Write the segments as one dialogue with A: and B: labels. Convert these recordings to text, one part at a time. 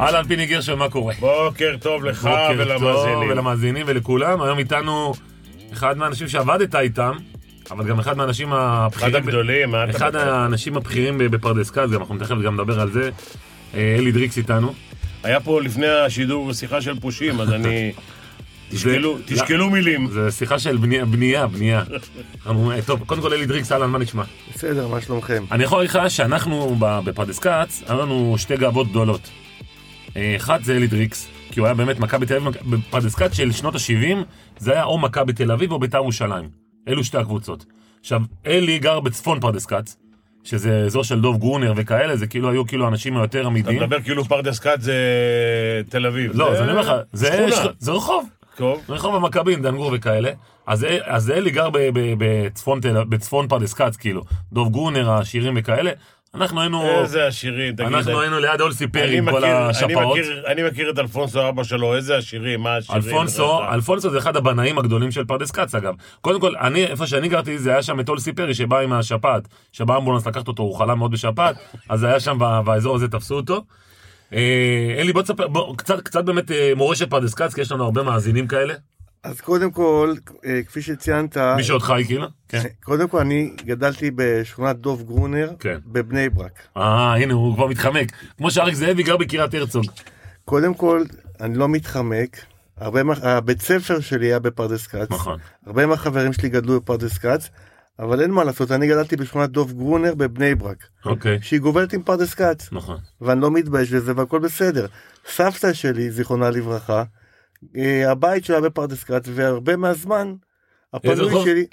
A: אהלן פיני גרשון, מה קורה?
B: בוקר טוב לך
A: בוקר טוב
B: ולמאזינים.
A: ולמאזינים ולכולם. היום איתנו אחד מהאנשים שעבדת איתם, אבל גם אחד מהאנשים הבכירים...
B: אחד הגדולים, אה? מה אתה...
A: אחד האנשים הבכירים ב- בפרדס קאץ, גם אנחנו תכף גם נדבר על זה. אה, אלי דריקס איתנו.
B: היה פה לפני השידור שיחה של פושעים, אז אני... תשקלו-
A: זה-
B: תשקלו מילים.
A: זה שיחה של בנייה, בנייה, בנייה. אנחנו- אה, טוב, קודם כל אלי דריקס, אהלן, מה נשמע?
C: בסדר, מה שלומכם?
A: אני יכול להגיד לך שאנחנו ב- בפרדס כץ, היה לנו שתי גאוות גדולות. אה, אחת זה אלי דריקס, כי הוא היה באמת מכבי תל אביב, מכ- בפרדס כץ של שנות ה-70, זה היה או מכבי תל אביב או בית"ר ירושלים. אלו שתי הקבוצות. עכשיו, אלי גר בצפון פרדס כץ, שזה אזור של דוב גרונר וכאלה, זה כאילו היו כאילו האנשים היותר
B: אתה
A: אמיתיים.
B: מדבר כאילו פרדס כץ זה תל אביב.
A: לא, אז אני אומר לך, זה
B: שכונה.
A: ש- זה רחוב.
B: טוב.
A: רחוב המכבים, דנגור וכאלה. אז, אז אלי גר ב, ב, בצפון, תל- בצפון פרדס כץ, כאילו. דוב גרונר, השירים וכאלה. אנחנו היינו...
B: איזה עשירים, תגיד.
A: אה, אנחנו היינו ליד אולסי פרי
B: אני
A: עם כל
B: מכיר- אני
A: השפעות.
B: מכיר- אני מכיר את אלפונסו, אבא שלו, איזה עשירים, מה השירים.
A: אלפונסו, אלפונסו זה אחד הבנאים הגדולים של פרדס כץ אגב. קודם כל, אני, איפה שאני גרתי, זה היה שם את אולסי פרי שבא עם השפעת. שבא אמבולנס לקחת אותו, הוא חלה מאוד בשפעת, אז היה שם ב- באזור הזה, תפסו אותו. אה, אלי, בוא תספר, בוא, קצת, קצת באמת אה, מורשת פרדס כץ, כי יש לנו הרבה מאזינים כאלה.
C: אז קודם כל, אה, כפי שציינת,
A: מי שעוד חי כאילו. כן.
C: קודם כל אני גדלתי בשכונת דוב גרונר
A: כן.
C: בבני ברק.
A: אה, הנה, הוא כבר מתחמק. כמו שאריק זאבי גר בקריית הרצוג.
C: קודם כל, אני לא מתחמק, הרבה מה- הבית ספר שלי היה בפרדס כץ,
A: נכון.
C: הרבה מהחברים שלי גדלו בפרדס כץ, אבל אין מה לעשות, אני גדלתי בשכונת דוב גרונר בבני ברק,
A: אוקיי.
C: שהיא גובלת עם פרדס כץ,
A: נכון.
C: ואני לא מתבייש בזה והכל בסדר. סבתא שלי, זיכרונה לברכה, אה, הבית שלה בפרדס כץ, והרבה מהזמן,
A: איזה רחוב?
C: הפנוי שלי,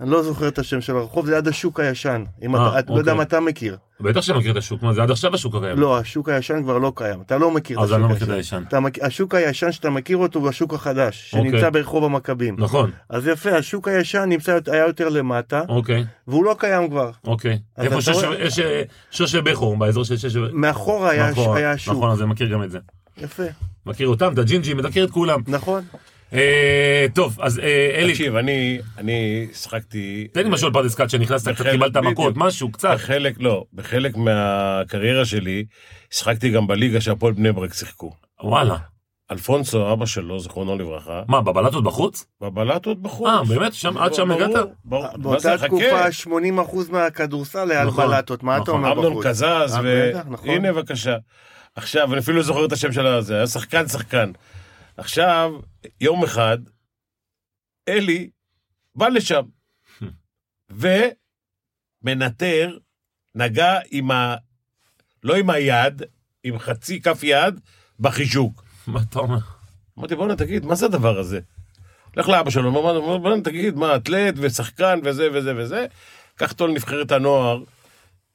C: אני לא זוכר את השם של הרחוב, זה עד השוק הישן, אם
A: אה,
C: אתה, את לא יודע
A: אוקיי.
C: אם אתה מכיר.
A: בטח שאני מכיר את השוק, מה זה עד עכשיו השוק הקיים.
C: לא, השוק הישן כבר לא קיים, אתה לא מכיר את
A: אז אני לא
C: השוק
A: מכיר את
C: הישן.
A: הישן.
C: אתה מכ- השוק הישן שאתה מכיר אותו הוא השוק החדש,
A: אוקיי.
C: שנמצא ברחוב המכבים.
A: נכון,
C: אז יפה, השוק הישן נמצא, היה יותר למטה,
A: אוקיי.
C: והוא לא קיים כבר.
A: אוקיי.
C: אז
A: איפה
C: אתה
A: שש-
C: רואה-
A: יש אה, שושה בכור, באזור של שש...
C: מאחורה היה
A: נכון,
C: היה השוק.
A: נכון, אז אני מכיר גם את זה.
C: יפה,
A: מכיר אותם, את הג'ינג'י, מכיר את כולם.
C: נכון.
A: אה, טוב, אז אה, אלי,
B: תקשיב, אני- אני שחקתי...
A: תן לי משהו על פרדס כץ שנכנסת, קצת
B: בחלק-
A: קיבלת מכות,
B: כן, בדיוק.
A: משהו, קצת.
B: בחלק, לא, בחלק מהקריירה שלי, שחקתי גם בליגה שהפועל בני ברק שיחקו.
A: וואלה.
B: אלפונסו, אבא שלו, זכרונו לברכה,
A: מה, בבלטות בחוץ?
B: בבלטות בחוץ.
A: אה, באמת? שם- עד שם
B: ברור,
A: הגעת?
B: ברור. מה זה,
C: אה, באותה
B: חכה.
C: תקופה 80% מהכדורסל היה על
A: נכון,
C: בלטות, מה אתה
A: נכון.
C: אומר
B: אמנון
C: בחוץ?
B: קזז,
C: אה,
B: ו...
C: בטח, נכון.
B: הנה בבקשה. עכשיו, אני אפילו לא זוכר את השם של הזה, היה שחקן שחקן. עכשיו, יום אחד, אלי בא לשם, ומנטר, נגע עם ה... לא עם היד, עם חצי כף יד, בחישוק.
A: מה אתה אומר?
B: אמרתי, בואנה, תגיד, מה זה הדבר הזה? לך לאבא שלו, אמר, "בואנה, בואנה, תגיד, מה, אתלט ושחקן וזה וזה וזה? קח אותו לנבחרת הנוער,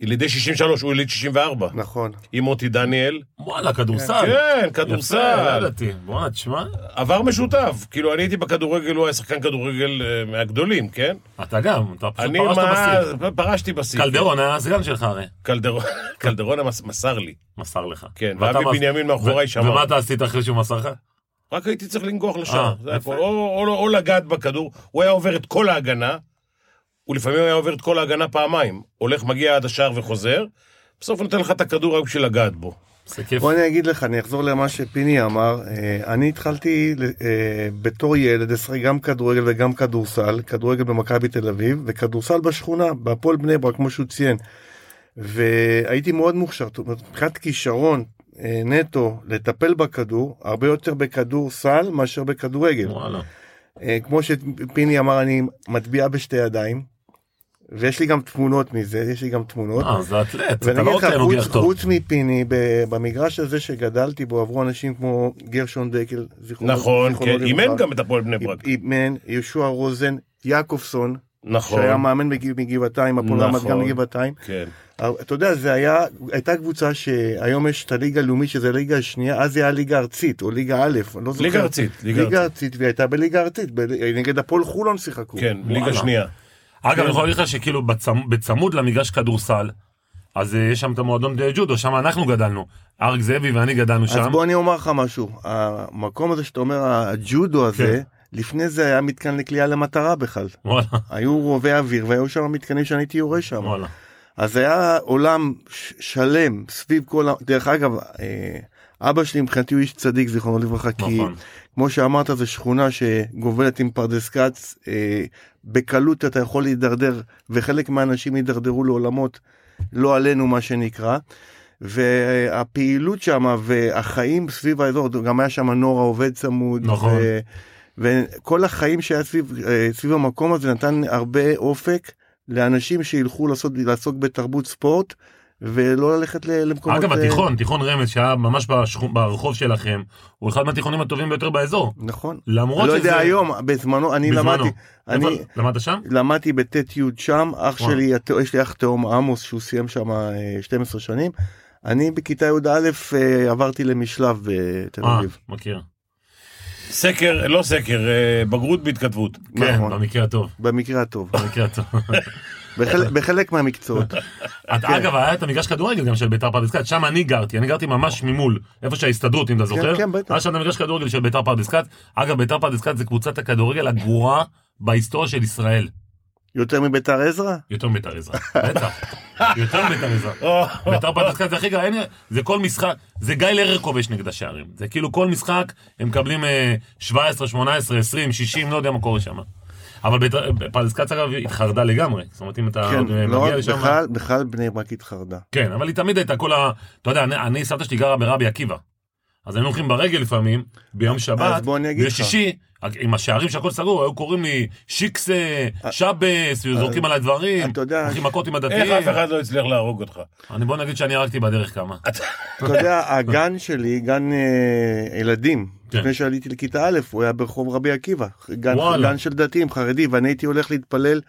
B: ילידי 63, הוא יליד 64,
C: נכון.
B: עם מוטי דניאל.
A: וואלה, כדורסל.
B: כן,
A: אה. יפה, לא
B: כדורסל.
A: ידעתי. בואנה, תשמע,
B: עבר משותף, כאילו, אני הייתי בכדורגל, הוא היה שחקן כדורגל אה, מהגדולים, כן?
A: אתה גם, אתה פשוט
B: אני,
A: פרשת
B: מה,
A: בסיס.
B: פרשתי בסיס.
A: קלדרון היה הסגן שלך הרי.
B: קלדרון, קלדרון המס- מסר לי,
A: מסר לך.
B: כן,
A: ואתה
B: ואבי
A: מס-
B: בנימין מאחוריי
A: ו-
B: שמר.
A: ומה אתה עשית אחרי שהוא מסר לך?
B: רק הייתי צריך לנגוח
A: אה,
B: לשער, זה
A: יפה.
B: הכל. או, לא, או, או לגעת בכדור, הוא היה עובר את כל ההגנה, ולפעמים היה עובר את כל ההגנה פעמיים. הולך, מגיע עד השער וחוזר, בסוף נותן לך את הכדור רק בשביל לגעת בו.
A: זה כיף.
C: בוא אני אגיד לך, אני אחזור למה שפיני אמר. אה, אני התחלתי ל- אה, בתור ילד לשחק גם כדורגל וגם כדורסל, כדורגל במכבי תל אביב, וכדורסל בשכונה, בהפועל בני ברק, כמו שהוא ציין. והייתי מאוד מוכשר, זאת אומרת, מבחינת כישרון אה, נטו לטפל בכדור, הרבה יותר בכדורסל מאשר בכדורגל.
A: וואלה.
C: אה, כמו שפיני אמר, אני מטביע בשתי ידיים, ויש לי גם תמונות מזה, יש לי גם תמונות.
A: אה, זה אתלט,
C: ואני
A: אתה לא רק
C: אגיד לך,
A: נוגח
C: חוץ-
A: טוב.
C: חוץ מפיני, ב- במגרש הזה שגדלתי בו עברו אנשים כמו גרשון דקל, זיכרונו
B: נכון,
C: זיכרונו
B: כן,
C: לברכה.
B: אימן גם את הפועל בני ברק.
C: אימן, יהושע רוזן, יעקובסון,
B: נכון,
C: שהיה מאמן מג- מגבעתיים, הפועל רמת
B: נכון.
C: גן מגבעתיים.
B: כן.
C: אבל אתה יודע, זה היה, הייתה קבוצה שהיום יש את הליגה הלאומית, שזה הליגה השנייה, אז זה היה ליגה ארצית, או ליגה א', אני לא זוכר.
B: ליגה ארצית, ליגה
C: ליגה
B: ארצית.
C: ארצית, והיא הייתה בליגה ארצית, ב- נגד הפועל חולון שיחקו.
B: כן,
A: וואלה.
B: ליגה שנייה.
A: אגב, אני יכול
C: כן.
A: להגיד לך שכאילו בצמ- בצמוד למגרש כדורסל, אז אה, יש שם את המועדון אה, ג'ודו, שם אנחנו גדלנו. אריק זאבי ואני גדלנו
C: אז
A: שם.
C: בוא אני אומר לך משהו, המקום הזה שאתה אומר הג'ודו הזה, לפני זה היה מתקן לקליעה למטרה בכלל.
A: וואלה,
C: היו רובי אוויר והיו שם מתקנים שאני הייתי יורה שם.
A: וואלה.
C: אז היה עולם ש- שלם סביב כל ה... דרך אגב, אה, אבא שלי מבחינתי הוא איש צדיק זיכרונו לברכה כי
A: נכון.
C: כמו שאמרת זו שכונה שגובלת עם פרדס כץ אה, בקלות אתה יכול להידרדר וחלק מהאנשים הידרדרו לעולמות לא עלינו מה שנקרא. והפעילות שם והחיים סביב האזור גם היה שם נוער העובד צמוד
A: נכון.
C: ו- וכל החיים שהיה סביב, אה, סביב המקום הזה נתן הרבה אופק לאנשים שילכו לעשות לעסוק בתרבות ספורט ולא ללכת ל- למקומות
A: אגב,
C: אה,
A: התיכון, תיכון רמז שהיה ממש בשכו- ברחוב שלכם, הוא אחד מהתיכונים הטובים ביותר באזור.
C: נכון.
A: למרות
C: אני לא
A: שזה...
C: יודע היום, בזמנו, אני
A: בזמנו. נכון.
C: למדתי, אני
A: איפה- למדת שם?
C: למדתי בט' י' שם, אח
A: וואו.
C: שלי, הת- יש לי אח תאום עמוס שהוא סיים שם אה, 12 שנים, אני בכיתה י"א אה, עברתי למשלב בתל
A: אה,
C: אביב.
A: מכיר.
B: סקר, לא סקר, אה, בגרות בהתכתבות.
A: כן,
C: נכון.
A: במקרה הטוב.
C: במקרה הטוב,
A: במקרה הטוב.
C: בחלק- בחלק מהמקצועות.
A: את-
C: אה, כן.
A: אגב, היה את המגרש כדורגל גם של ביתר פרדס כץ, שם אני גרתי, אני גרתי ממש ממול, איפה שההסתדרות, אם אתה זוכר.
C: כן, בטח.
A: היה שם את המגרש כדורגל של ביתר פרדס כץ. אגב, ביתר פרדס כץ זה קבוצת הכדורגל הגרועה בהיסטוריה של ישראל.
C: יותר מביתר עזרא?
A: יותר מביתר עזרא, בטח. יותר מביתר עזרא.
B: אה,
A: ביתר פתח תקווה זה הכי גרוע, אין- זה כל משחק, זה גיא לרר כובש נגד השערים. זה כאילו כל משחק, הם מקבלים אה, 17, 18, 20, 60, לא יודע מה קורה שם. אבל ביתר- פרדסקץ אגב התחרדה לגמרי, זאת אומרת אם אתה עוד, אה,
C: כן, לא
A: מגיע
C: רק,
A: לשם...
C: בכלל- בכלל בני ברק התחרדה.
A: כן, אבל היא תמיד הייתה כל ה... אתה יודע, אני- אני, סבתא שלי גרה ברבי עקיבא. אז היינו הולכים ברגל לפעמים, ביום שבת,
C: אז בוא אני אגיד לך.
A: בשישי, עם השערים שהכל סגור, היו קוראים לי שיקס, אה, שבס, היו זורקים עליי דברים,
C: אה, אתה יודע- אה,
A: הולכים מכות עם
B: איך
A: הדתיים.
B: אף אחד לא הצליח להרוג אותך?
A: אני בוא נגיד שאני הרגתי בדרך כמה.
C: אתה יודע, הגן שלי, גן אה, ילדים,
A: כן.
C: לפני שעליתי לכיתה א', הוא היה ברחוב רבי עקיבא, גן,
A: וואלה.
C: גן של דתיים, חרדי, ואני הייתי הולך להתפלל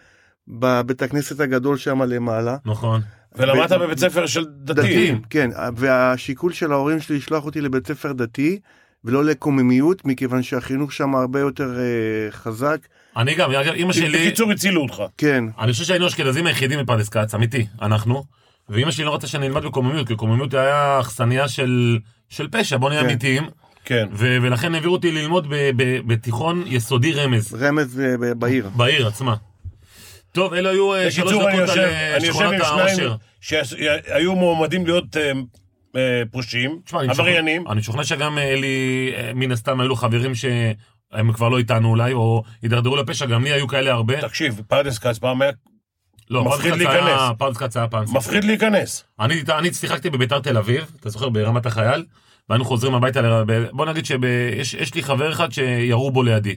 C: בבית הכנסת הגדול שם למעלה.
A: נכון.
B: ולמדת
C: ב-
B: בבית ספר של דתיים.
A: דתיים.
C: דתיים, כן, והשיקול של ההורים שלי לשלוח אותי לבית ספר דתי, ולא לקוממיות, מכיוון שהחינוך שם הרבה יותר אה, חזק,
A: אני גם, אגב, אימא שלי,
B: בקיצור, הצילו אותך.
C: כן.
A: אני חושב שהיינו האשכנזים היחידים בפרדס כץ, אמיתי, אנחנו, ואימא שלי לא רצתה שאני אלמד בקוממיות, כי קוממיות היה אכסניה של של פשע, בוא נהיה
C: כן.
A: אמיתיים,
B: כן.
A: ו- ולכן העבירו אותי ללמוד ב- ב- בתיכון יסודי רמז,
C: רמז אה, ב- בעיר.
A: בעיר עצמה. טוב, אלו היו אה, שלוש
B: בקיצור, אני
A: דקות על
B: יושב
A: אה,
B: אני יושב
A: שכונת
B: עם שניים
A: העושר.
B: שהיו מועמדים להיות אה, אה, פושעים,
A: תשמע, אני משוכנע-
B: עבריינים.
A: אני משוכנע שגם אה, לי, אה, מן הסתם, היו לו חברים שהם כבר לא איתנו אולי, או הידרדרו לפשע, גם לי היו כאלה הרבה.
B: תקשיב, פרדס כץ פעם היה
A: לא,
B: מפחיד
A: פרדס כץ היה-
B: להיכנס.
A: פרדס כץ היה פעם.
B: מפחיד להיכנס.
A: אני, אני שיחקתי בביתר תל אביב, אתה זוכר, ברמת החייל, והיינו חוזרים הביתה, ל... ב- בוא נגיד שיש יש לי חבר אחד שירו בו לידי,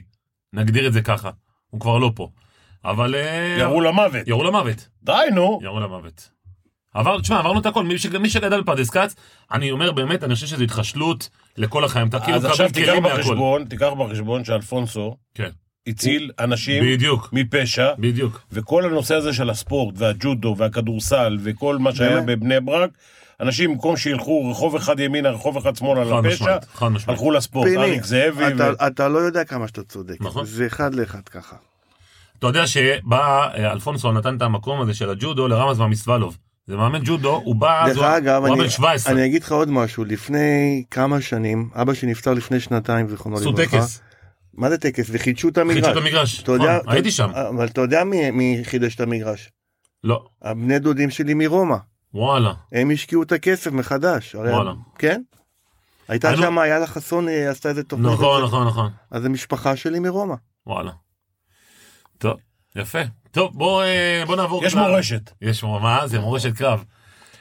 A: נגדיר את זה ככה, הוא כבר לא פה. אבל... אה,
B: ירו למוות.
A: ירו למוות,
B: די, נו.
A: ירו למוות. עבר, תשמע, עברנו את הכל, מי, ש... מי שגדל בפרדס כץ, אני אומר באמת, אני חושב שזו התחשלות לכל החיים, אתה כאילו
B: אז עכשיו
A: מקבל
B: תיקח
A: כלים מהכל.
B: בחשבון, תיקח בחשבון שאלפונסו
A: כן,
B: הציל אנשים
A: בדיוק,
B: מפשע,
A: בדיוק.
B: וכל הנושא הזה של הספורט והג'ודו והכדורסל וכל מה שהיה
C: באמת?
B: בבני ברק, אנשים במקום שילכו רחוב אחד ימינה, רחוב אחד שמאלה
A: חד
B: לפשע,
A: משמעית, חד משמעית.
B: הלכו לספורט.
C: פיני,
B: אוקיי. אריק זאבי, ו-
C: אתה- אתה לא יודע כמה שאתה צודק,
A: נכון.
C: זה אחד לאחד ככה.
A: אתה יודע שבא אה, אלפונסו נתן את המקום הזה של הג'ודו לרמז ממיסטוולוב. זה מאמן ג'ודו, הוא בא, אז
C: דרך
A: הוא
C: אגב,
A: הוא היה
C: אני-
A: בן 17.
C: אני אגיד לך עוד משהו, לפני כמה שנים, אבא שלי נפטר לפני שנתיים, זיכרונו
A: עשו
C: לברכה.
A: טקס,
C: מה זה טקס? וחידשו את המגרש.
A: חידשו את המגרש.
C: אה, אתה יודע,
A: נכון, הייתי שם.
C: אבל אתה יודע מי, מי חידש את המגרש?
A: לא,
C: הבני דודים שלי מרומא.
A: וואלה.
C: הם השקיעו את הכסף מחדש. הרי-
A: וואלה.
C: כן? הייתה
A: היינו-
C: שם, איילה חסון אה, עשתה איזה תוכנית.
A: נכון,
C: על זה.
A: נכון, נכון.
C: אז זה משפחה שלי מרומא.
A: וואלה. טוב, יפה. טוב, בוא אה, בוא נעבור.
B: יש
A: ל-
B: מורשת.
A: יש מורשת. מה זה? מורשת קרב.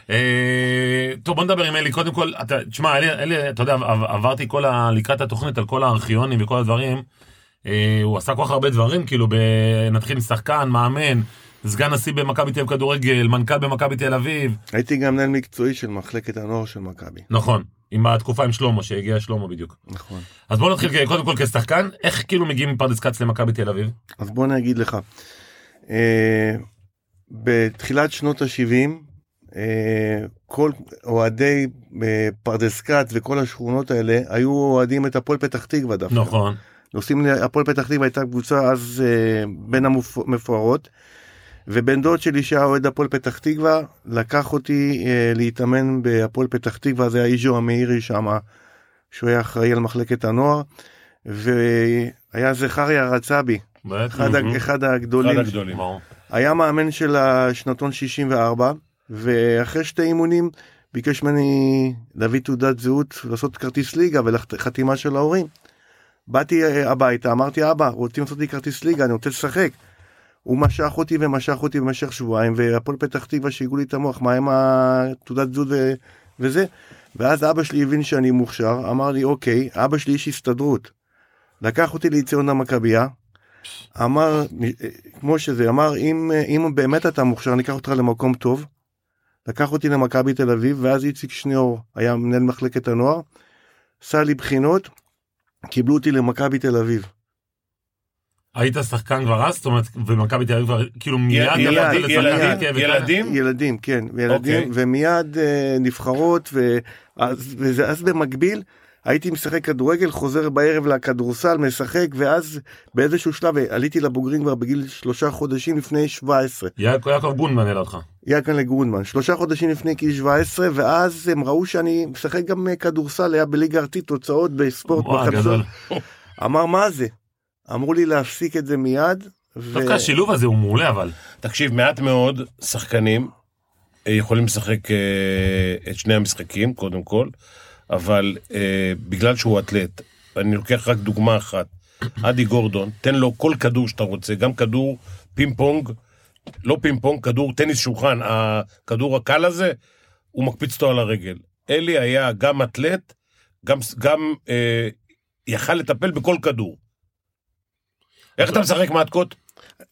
A: אה, טוב, בוא נדבר עם אלי. קודם כל, אתה- תשמע, אלי- אלי, אתה יודע, עב- עברתי כל ה- לקראת התוכנית על כל הארכיונים וכל הדברים. אה, הוא עשה כל כך הרבה דברים, כאילו, ב... נתחיל עם שחקן, מאמן, סגן נשיא במכבי תל אביב כדורגל, מנכ"ל במכבי תל אביב.
C: הייתי גם מנהל מקצועי של מחלקת הנוער של מכבי.
A: נכון, עם התקופה עם שלמה, שהגיע שלמה בדיוק.
C: נכון.
A: אז בואו נתחיל כ- קודם כל כשחקן, איך כאילו מגיעים מפרדס כץ למכבי תל אביב?
C: אז בוא אני אגיד לך. אה, בתחילת שנות ה-70, אה, כל אוהדי אה, פרדס כץ וכל השכונות האלה היו אוהדים את הפועל פתח תקווה דווקא.
A: נכון,
C: נוסעים להפועל פתח תקווה הייתה קבוצה אז אה, בין המפוארות. ובן דוד שלי שהיה אוהד הפועל פתח תקווה לקח אותי אה, להתאמן בהפועל פתח תקווה זה היה איז'ו המאירי שם שהוא היה אחראי על מחלקת הנוער. והיה זכריה רצבי
A: בטח.
C: אחד, ה- אחד הגדולים
B: אחד הגדולים.
A: ברור.
C: היה מאמן של השנתון 64 ואחרי שתי אימונים ביקש ממני להביא תעודת זהות, לעשות כרטיס ליגה וחתימה של ההורים. באתי אה, הביתה, אמרתי, אבא, רוצים לעשות לי כרטיס ליגה, אני רוצה לשחק. הוא משך אותי ומשך אותי במשך שבועיים, והפועל פתח תקווה שיגעו לי את המוח, מה עם התעודת זהות ו... וזה? ואז אבא שלי הבין שאני מוכשר, אמר לי, אוקיי, אבא שלי איש הסתדרות. לקח אותי לאיצטדיון המכבייה, אמר, אה, כמו שזה, אמר, אם, אה, אם באמת אתה מוכשר, אני אקח אותך למקום טוב. לקח אותי למכבי תל אביב, ואז איציק שניאור היה מנהל מחלקת הנוער, עשה לי בחינות, קיבלו אותי למכבי תל אביב.
A: היית שחקן כבר אז? זאת אומרת, ומכבי תל אביב כבר, כאילו מיד
B: ילדים,
A: הפכת לשחקן
B: ילדים,
A: הרכב וכאלה?
B: ילדים,
C: ילדים, כן, ילדים,
B: אוקיי.
C: ומיד אה, נבחרות, ואז, וזה- אז במקביל הייתי משחק כדורגל, חוזר בערב לכדורסל, משחק, ואז באיזשהו שלב אה, עליתי לבוגרים כבר בגיל שלושה חודשים לפני 17.
A: יעק- יעקב גונמן העלה אותך.
C: יענקל'ה גרונמן, שלושה חודשים לפני גיל 17, ואז הם ראו שאני משחק גם אה, כדורסל, היה בליגה ארצית, תוצאות בספורט,
A: וואו,
C: בחדשות.
A: גדול.
C: אמר מה זה? אמרו לי להפסיק את זה מיד. ו-
B: אה.
A: דווקא השילוב הזה הוא מעולה אבל.
B: תקשיב, מעט מאוד שחקנים אה, יכולים לשחק אה, את שני המשחקים, קודם כל, אבל אה, בגלל שהוא אתלט, אני לוקח רק דוגמה אחת, אדי גורדון, תן לו כל כדור שאתה רוצה, גם כדור פינג פונג, לא פינג פונג, כדור טניס שולחן, הכדור הקל הזה, הוא מקפיץ אותו על הרגל. אלי היה גם אתלט, גם, גם אה, יכל לטפל בכל כדור. איך אתה משחק מהתקות?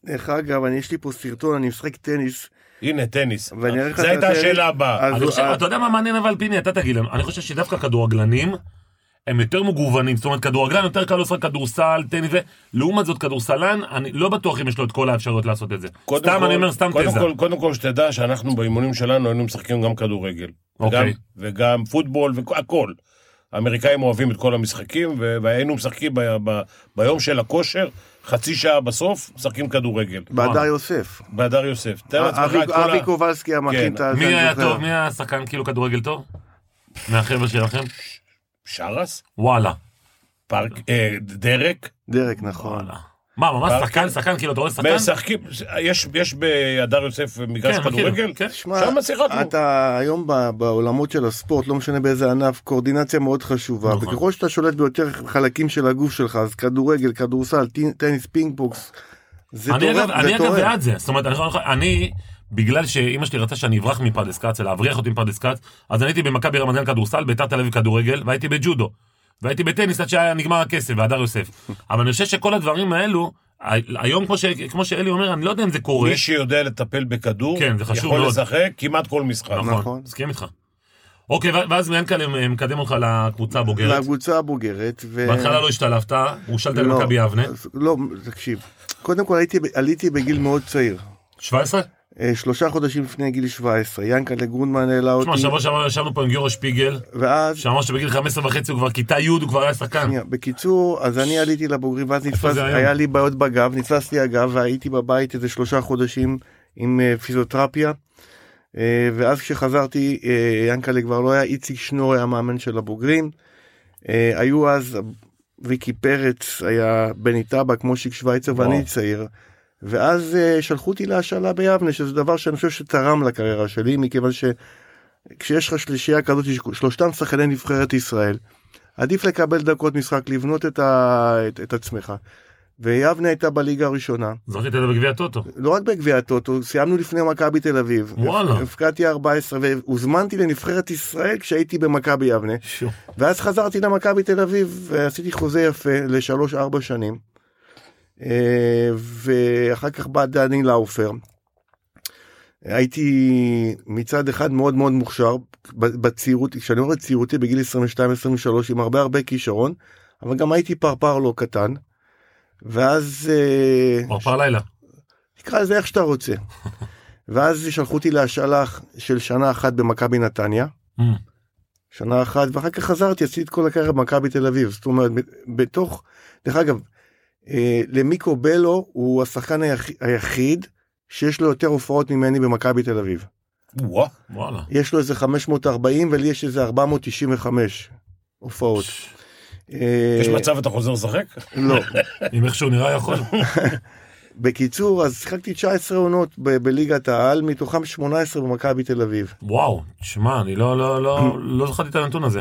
C: דרך אגב, אני יש לי פה סרטון, אני משחק טניס,
B: הנה, טניס.
C: ואני אראה לך
B: זו
C: את
B: הייתה
C: הטניס.
B: השאלה הבאה.
C: אז
A: אני
C: הוא-
A: חושב-
C: אה,
A: אתה יודע מה מעניין אבל פיני, אתה תגיד לנו, אני חושב שדווקא כדורגלנים הם יותר מגוונים, זאת אומרת כדורגלן יותר קל לעשות כדורסל, טניס ו... לעומת זאת כדורסלן, אני לא בטוח אם יש לו את כל האפשרויות לעשות את זה.
B: קודם
A: סתם
B: כל-
A: אני אומר סתם
B: קודם
A: תזה.
B: כל, קודם כל שתדע שאנחנו באימונים שלנו היינו משחקים גם כדורגל.
A: אוקיי.
B: וגם, וגם פוטבול והכל. האמריקאים אוהבים את כל המשחקים, ו- והיינו משחקים ב- ב- ביום של הכושר, חצי שעה בסוף, משחקים כדורגל.
C: בהדר יוסף.
B: בהדר יוסף. תאר לעצמך
C: אבי
B: את כל ה-
C: אבי קובלסקי המכין
B: כן.
C: את ה...
A: מי
C: אני
A: היה
C: זוכר.
A: טוב? מי היה שחקן כאילו כדורגל טוב? מהחבר'ה שלכם?
B: שרס?
A: וואלה.
B: פארק? אה, דרק?
C: דרק, נכון.
A: מה, ממש
B: ברקה?
A: שחקן, שחקן, כאילו, אתה רואה שחקן?
B: משחקים, יש- יש בהדר יוסף מגרש
A: כן, מכיר,
B: כדורגל?
A: כן.
C: שמע,
B: שם שיחקנו.
C: אתה היום ב- בעולמות של הספורט, לא משנה באיזה ענף, קואורדינציה מאוד חשובה,
A: נכון.
C: וככל שאתה שולט ביותר חלקים של הגוף שלך, אז כדורגל, כדורסל, טי- טניס, פינג פונגס, זה
A: אני
C: תורם,
A: אגב, אני
C: זה
A: אגב
C: תורם.
A: בעד זה, זאת אומרת, אני, יכול- אני בגלל שאימא שלי רצתה שאני אברח מפרדס כץ, להבריח אותי מפרדס כץ, אז אני הייתי במכבי רמת גן כדורסל, ביתר תל אביב כדורגל, והייתי בג'ודו, והייתי בטניס עד שהיה נגמר הכסף, והדר יוסף. אבל אני חושב שכל הדברים האלו, ה- היום כמו, ש, כמו שאלי אומר, אני לא יודע אם זה קורה.
B: מי שיודע לטפל בכדור,
A: כן, זה חשוב
B: יכול
A: מאוד.
B: לשחק כמעט כל משחק.
A: נכון,
C: נכון.
A: מסכים איתך. אוקיי, ו- ואז מיאנקל'ה מקדם אותך לקבוצה הבוגרת.
C: לקבוצה הבוגרת. ו-
A: בהתחלה לא השתלבת, הושלת
C: לא,
A: למכבי יבנה.
C: אז- לא, תקשיב. קודם כל הייתי, ב- עליתי בגיל מאוד צעיר.
A: 17?
C: אה, שלושה חודשים לפני גיל 17. ינקלה גרונמן העלה אותי.
A: תשמע, שבוע שעבר ישבנו פה עם גיורא שפיגל,
C: ואז,
A: שאמר שבגיל 15 וחצי הוא כבר כיתה י', הוא כבר היה שחקן.
C: שנייה, בקיצור, אז אני עליתי לבוגרים, ואז נתפס,
A: זה היום?
C: היה לי בעיות בגב, נתפס לי הגב, והייתי בבית איזה שלושה חודשים עם אה, פיזיותרפיה. אה, ואז כשחזרתי, אה, ינקלה כבר לא היה, איציק שנור היה מאמן של הבוגרים. אה, היו אז, ריקי פרץ היה בני טבק, מושיק שווייצר ואני
B: וואו.
C: צעיר. ואז אה, שלחו אותי להשאלה ביבנה, שזה דבר שאני חושב שתרם לקריירה שלי, מכיוון שכשיש לך שלישייה כזאת, שלושתם שחקני נבחרת ישראל, עדיף לקבל דקות משחק, לבנות את, ה... את, את עצמך. ויבנה הייתה בליגה הראשונה,
A: זכית בגביע הטוטו.
C: לא רק בגביע הטוטו, סיימנו לפני מכבי תל אביב.
A: וואלה.
C: הפקעתי 14 והוזמנתי לנבחרת ישראל כשהייתי במכבי יבנה. ואז חזרתי למכבי תל אביב ועשיתי חוזה יפה לשלוש ארבע שנים. אה, ואחר כך בא דני לאופר. הייתי מצד אחד מאוד מאוד מוכשר ב- בצעירות, כשאני אומר צעירותי בגיל 22-23 עם הרבה הרבה כישרון, אבל גם הייתי פרפר לא קטן. ואז אה,
A: פרפר לילה.
C: תקרא לזה איך שאתה רוצה. ואז שלחו אותי להשאלה של שנה אחת במכבי נתניה.
A: Mm.
C: שנה אחת ואחר כך חזרתי עשיתי את כל הקריירה במכבי תל אביב זאת אומרת ב- בתוך דרך אגב אה, למיקו בלו הוא השחקן היח, היחיד שיש לו יותר הופעות ממני במכבי תל אביב
B: וואו.
A: וואלה.
C: יש לו איזה 540 ולי יש איזה 495 הופעות. אה,
B: יש מצב אתה חוזר לשחק?
C: לא
A: אם איכשהו נראה יכול.
C: בקיצור, אז שיחקתי 19 עונות ב- בליגת העל, מתוכם 18 במכבי תל אביב.
A: וואו, תשמע, אני לא, לא, לא, לא זכרתי את הנתון הזה.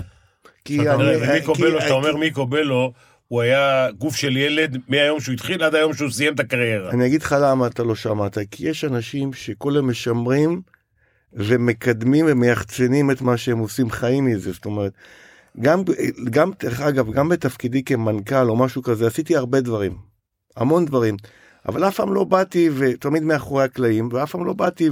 C: כי
B: תראה, ומיקו
C: אה, כי-
B: בלו,
C: כי-
B: כשאתה אומר מיקו בלו, הוא היה גוף של ילד מהיום שהוא התחיל עד היום שהוא סיים את הקריירה.
C: אני אגיד לך למה אתה לא שמעת, כי יש אנשים שכל הם משמרים ומקדמים ומייחצנים את מה שהם עושים חיים מזה, זאת אומרת, גם, גם, דרך אגב, גם בתפקידי כמנכ"ל או משהו כזה, עשיתי הרבה דברים, המון דברים, אבל אף פעם לא באתי, ותמיד מאחורי הקלעים, ואף פעם לא באתי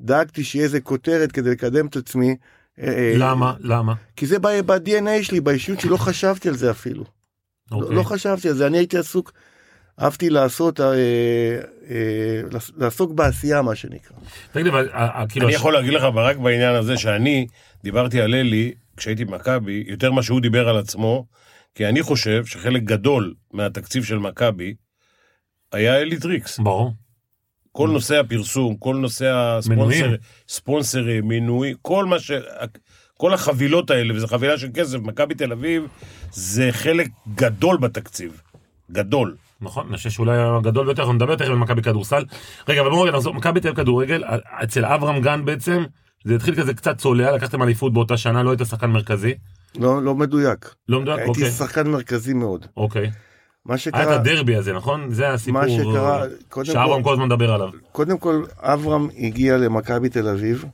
C: ודאגתי שיהיה איזה כותרת כדי לקדם את עצמי. אה, אה,
A: למה? למה?
C: כי זה ב- ב-DNA שלי, באישיות שלי, לא חשבתי על זה אפילו. לא,
A: אוקיי.
C: לא חשבתי על זה, אני הייתי עסוק, אהבתי לעשות, אה, אה, לעס- לעסוק בעשייה מה שנקרא.
A: תגיד לי, אבל, אה, אה, כאילו,
B: אני
A: הש-
B: יכול להגיד לך אבל רק בעניין הזה שאני דיברתי על אלי כשהייתי במכבי יותר מה שהוא דיבר על עצמו, כי אני חושב שחלק גדול מהתקציב של מכבי היה אלי טריקס.
A: ברור.
B: כל נושא הפרסום, כל נושא הספונסרים,
A: מנויים.
B: ספונסרים, מינוי, כל מה ש... כל החבילות האלה, וזו חבילה של כסף, מכבי תל אביב, זה חלק גדול בתקציב. גדול.
A: נכון, אני חושב שאולי הגדול ביותר, אנחנו נדבר תכף על מכבי כדורסל. רגע, אבל בואו רגע נחזור, מכבי תל אביב כדורגל, אה, אצל אברהם גן בעצם, זה התחיל כזה קצת צולע, לקחתם אליפות באותה שנה, לא היית שחקן מרכזי.
C: לא, לא מדויק.
A: לא מדויק,
C: הייתי
A: אוקיי,
C: שחקן מרכזי מאוד.
A: אוקיי.
C: מה
A: היה את אה,
C: שקרה,
A: הדרבי הזה, נכון? זה הסיפור
C: מה שקרה, קודם
A: שאברהם
C: כל,
A: כל הזמן מדבר עליו.
C: קודם כל, אברהם הגיע למכבי תל אביב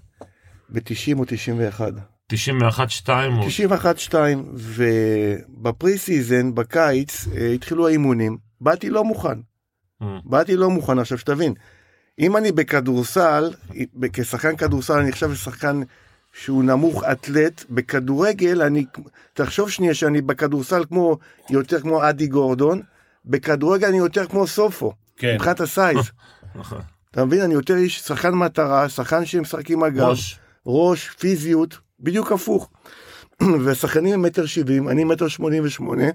C: ב-90 או 91.
A: 91-2, או-
C: 91-2, ובפרי סיזן, בקיץ, אה, התחילו האימונים. באתי לא מוכן.
A: אה,
C: באתי לא מוכן עכשיו שתבין אם אני בכדורסל כשחקן כדורסל אני עכשיו שחקן שהוא נמוך אתלט בכדורגל אני תחשוב שנייה שאני בכדורסל כמו יותר כמו אדי גורדון בכדורגל אני יותר כמו סופו
B: כן.
C: מבחינת הסייז
A: נכון.
C: אתה מבין אני יותר איש שחקן מטרה שחקן שמשחק עם הגב
A: ראש.
C: ראש פיזיות בדיוק הפוך והשחקנים הם מטר שבעים אני מטר שמונים ושמונה.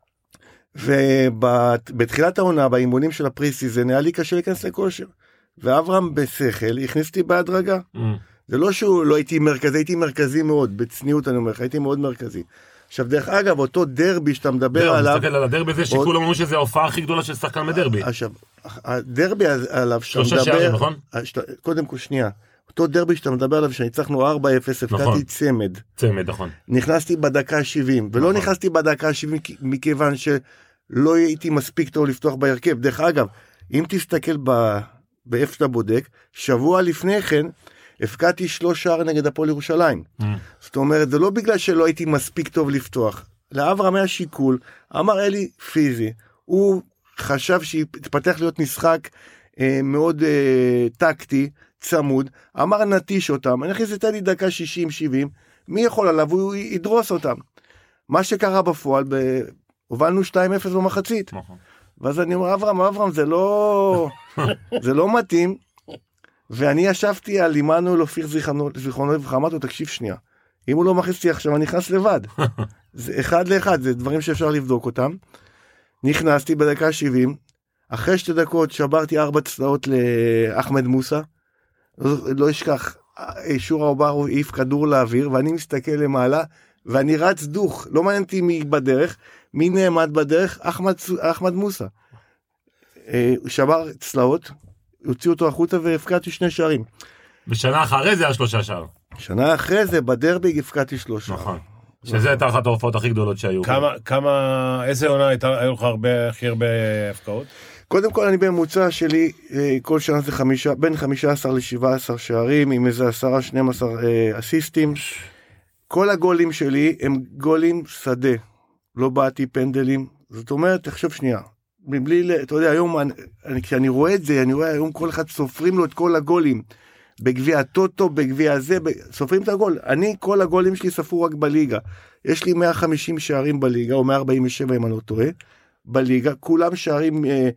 C: ובתחילת העונה באימונים של הפרי סיזן היה לי קשה להיכנס לכושר. ואברהם בשכל הכניס אותי בהדרגה
A: אה,
C: זה לא שהוא לא הייתי מרכזי הייתי מרכזי מאוד בצניעות אני אומר לך הייתי מאוד מרכזי. עכשיו דרך אגב אותו דרבי שאתה מדבר
A: זהו, אני
C: עליו
A: לא,
C: אה,
A: מסתכל על הדרבי הזה, שכולם אומרים שזו ההופעה הכי גדולה של שחקן בדרבי.
C: עכשיו, הדרבי הזה- עליו שאתה
A: שלושה
C: מדבר, אה,
A: שערים, נכון?
C: שאתה- קודם כל שנייה, אותו דרבי שאתה מדבר עליו שניצחנו 4-0,
A: נכון.
C: הפקעתי צמד,
A: צמד, נכון.
C: נכנסתי בדקה ה-70, ולא
A: נכון.
C: נכנסתי בדקה ה-70 מכיוון שלא הייתי מספיק טוב לפתוח בהרכב. דרך אגב, אם תסתכל ב- באיפה שאתה בודק, שבוע לפני כן הפקעתי שלוש שער נגד הפועל ירושלים.
A: אה,
C: זאת אומרת, זה לא בגלל שלא הייתי מספיק טוב לפתוח. לאברהם היה שיקול, אמר אלי פיזי, הוא חשב שהתפתח להיות משחק אה, מאוד אה, טקטי, צמוד, אמר נתיש אותם, אני אכניס את אלי דקה 60-70, מי יכול עליו, הוא ידרוס אותם. מה שקרה בפועל, ב... הובלנו 2-0 במחצית,
A: נכון.
C: ואז אני אומר, אברהם, אברהם, זה לא, זה לא מתאים. ואני ישבתי על עמנואל אופיר זיכרונו זיכרונו לברכה, אמרתי לו, תקשיב שנייה, אם הוא לא מכניס אותי עכשיו, אני נכנס לבד. זה אחד לאחד, זה דברים שאפשר לבדוק אותם. נכנסתי בדקה 70, אחרי שתי דקות שברתי ארבע צלעות לאחמד מוסא. לא, לא אשכח, אה, שורה אוברוב העיף כדור לאוויר, ואני מסתכל למעלה, ואני רץ דוך, לא מעניין אותי מי בדרך, מי נעמד בדרך? אחמד, סו- אחמד מוסא. אה, הוא שבר צלעות, הוציאו אותו החוצה והפקעתי שני שערים.
A: ושנה אחרי זה היה שלושה שער.
C: שנה אחרי זה בדרבי הפקעתי שלושה.
A: נכון. שזה הייתה אחת ההופעות הכי גדולות שהיו.
B: כמה, כמה, איזה עונה הייתה, היו לך הרבה, הכי הרבה הפקעות?
C: קודם כל אני בממוצע שלי אה, כל שנה זה חמישה בין 15 ל-17 שערים עם איזה 10-12 אה, אסיסטים. כל הגולים שלי הם גולים שדה. לא בעטתי פנדלים זאת אומרת תחשוב שנייה. מבלי ל... אתה יודע היום אני, אני, כשאני רואה את זה אני רואה היום כל אחד סופרים לו את כל הגולים. בגביע הטוטו בגביע הזה ב... סופרים את הגול אני כל הגולים שלי ספרו רק בליגה. יש לי 150 שערים בליגה או 147 אם אני לא טועה. בליגה כולם שערים אה,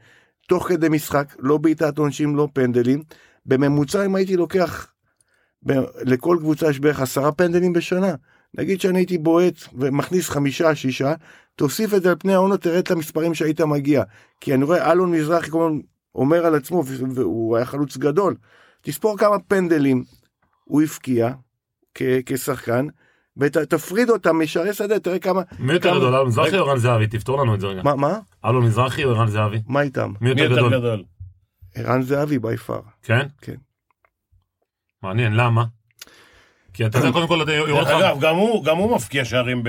C: תוך כדי משחק, לא בעיטת עונשים, לא פנדלים. בממוצע אם הייתי לוקח, ב- לכל קבוצה יש בערך עשרה פנדלים בשנה. נגיד שאני הייתי בועט ומכניס חמישה, שישה, תוסיף את זה על פני העונות, תראה את המספרים שהיית מגיע. כי אני רואה אלון מזרחי כל הזמן אומר על עצמו, והוא היה חלוץ גדול, תספור כמה פנדלים הוא הבקיע כ- כשחקן, ותפריד אותם משערי שדה, תראה כמה...
A: מי יותר
C: כמה-
A: גדול, אלון מזרחי
B: רגע.
A: או ערן זהבי? תפתור לנו את זה רגע.
C: מה, מה?
A: אלון מזרחי או ערן זהבי?
C: מה איתם?
A: מי
B: מי
A: יותר גדול?
B: גדול?
C: ערן זהבי בי פאר.
A: כן?
C: כן.
A: מעניין, למה? כי אתה יודע,
C: אה,
A: קודם כל, אתה יורד לך...
B: אגב, גם הוא- גם הוא מפקיע שערים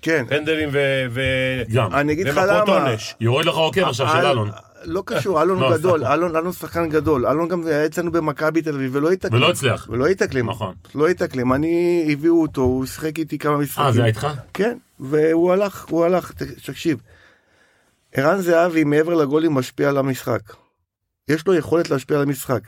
B: בפנדלים
C: כן.
B: ו- ו-
A: גם.
C: אני אה, אגיד לך
B: כן. ומכות
C: למה.
B: עונש.
A: יורד לך עוקב עכשיו של
C: אל-
A: אלון.
C: לא קשור, אלון הוא
A: לא,
C: גדול,
A: סתם.
C: אלון אלון שחקן גדול. אלון גם היה אצלנו במכבי תל אביב ולא התאקלים.
A: ולא הצליח.
C: ולא התאקלים.
A: נכון.
C: לא התאקלים. אני, הביאו אותו, הוא שיחק איתי כמה משחקים.
A: אה, זה היה איתך?
C: כן, והוא הלך, הוא הלך, ת- תקשיב. ערן זהבי מעבר לגולים משפיע על המשחק. יש לו יכולת להשפיע על המשחק.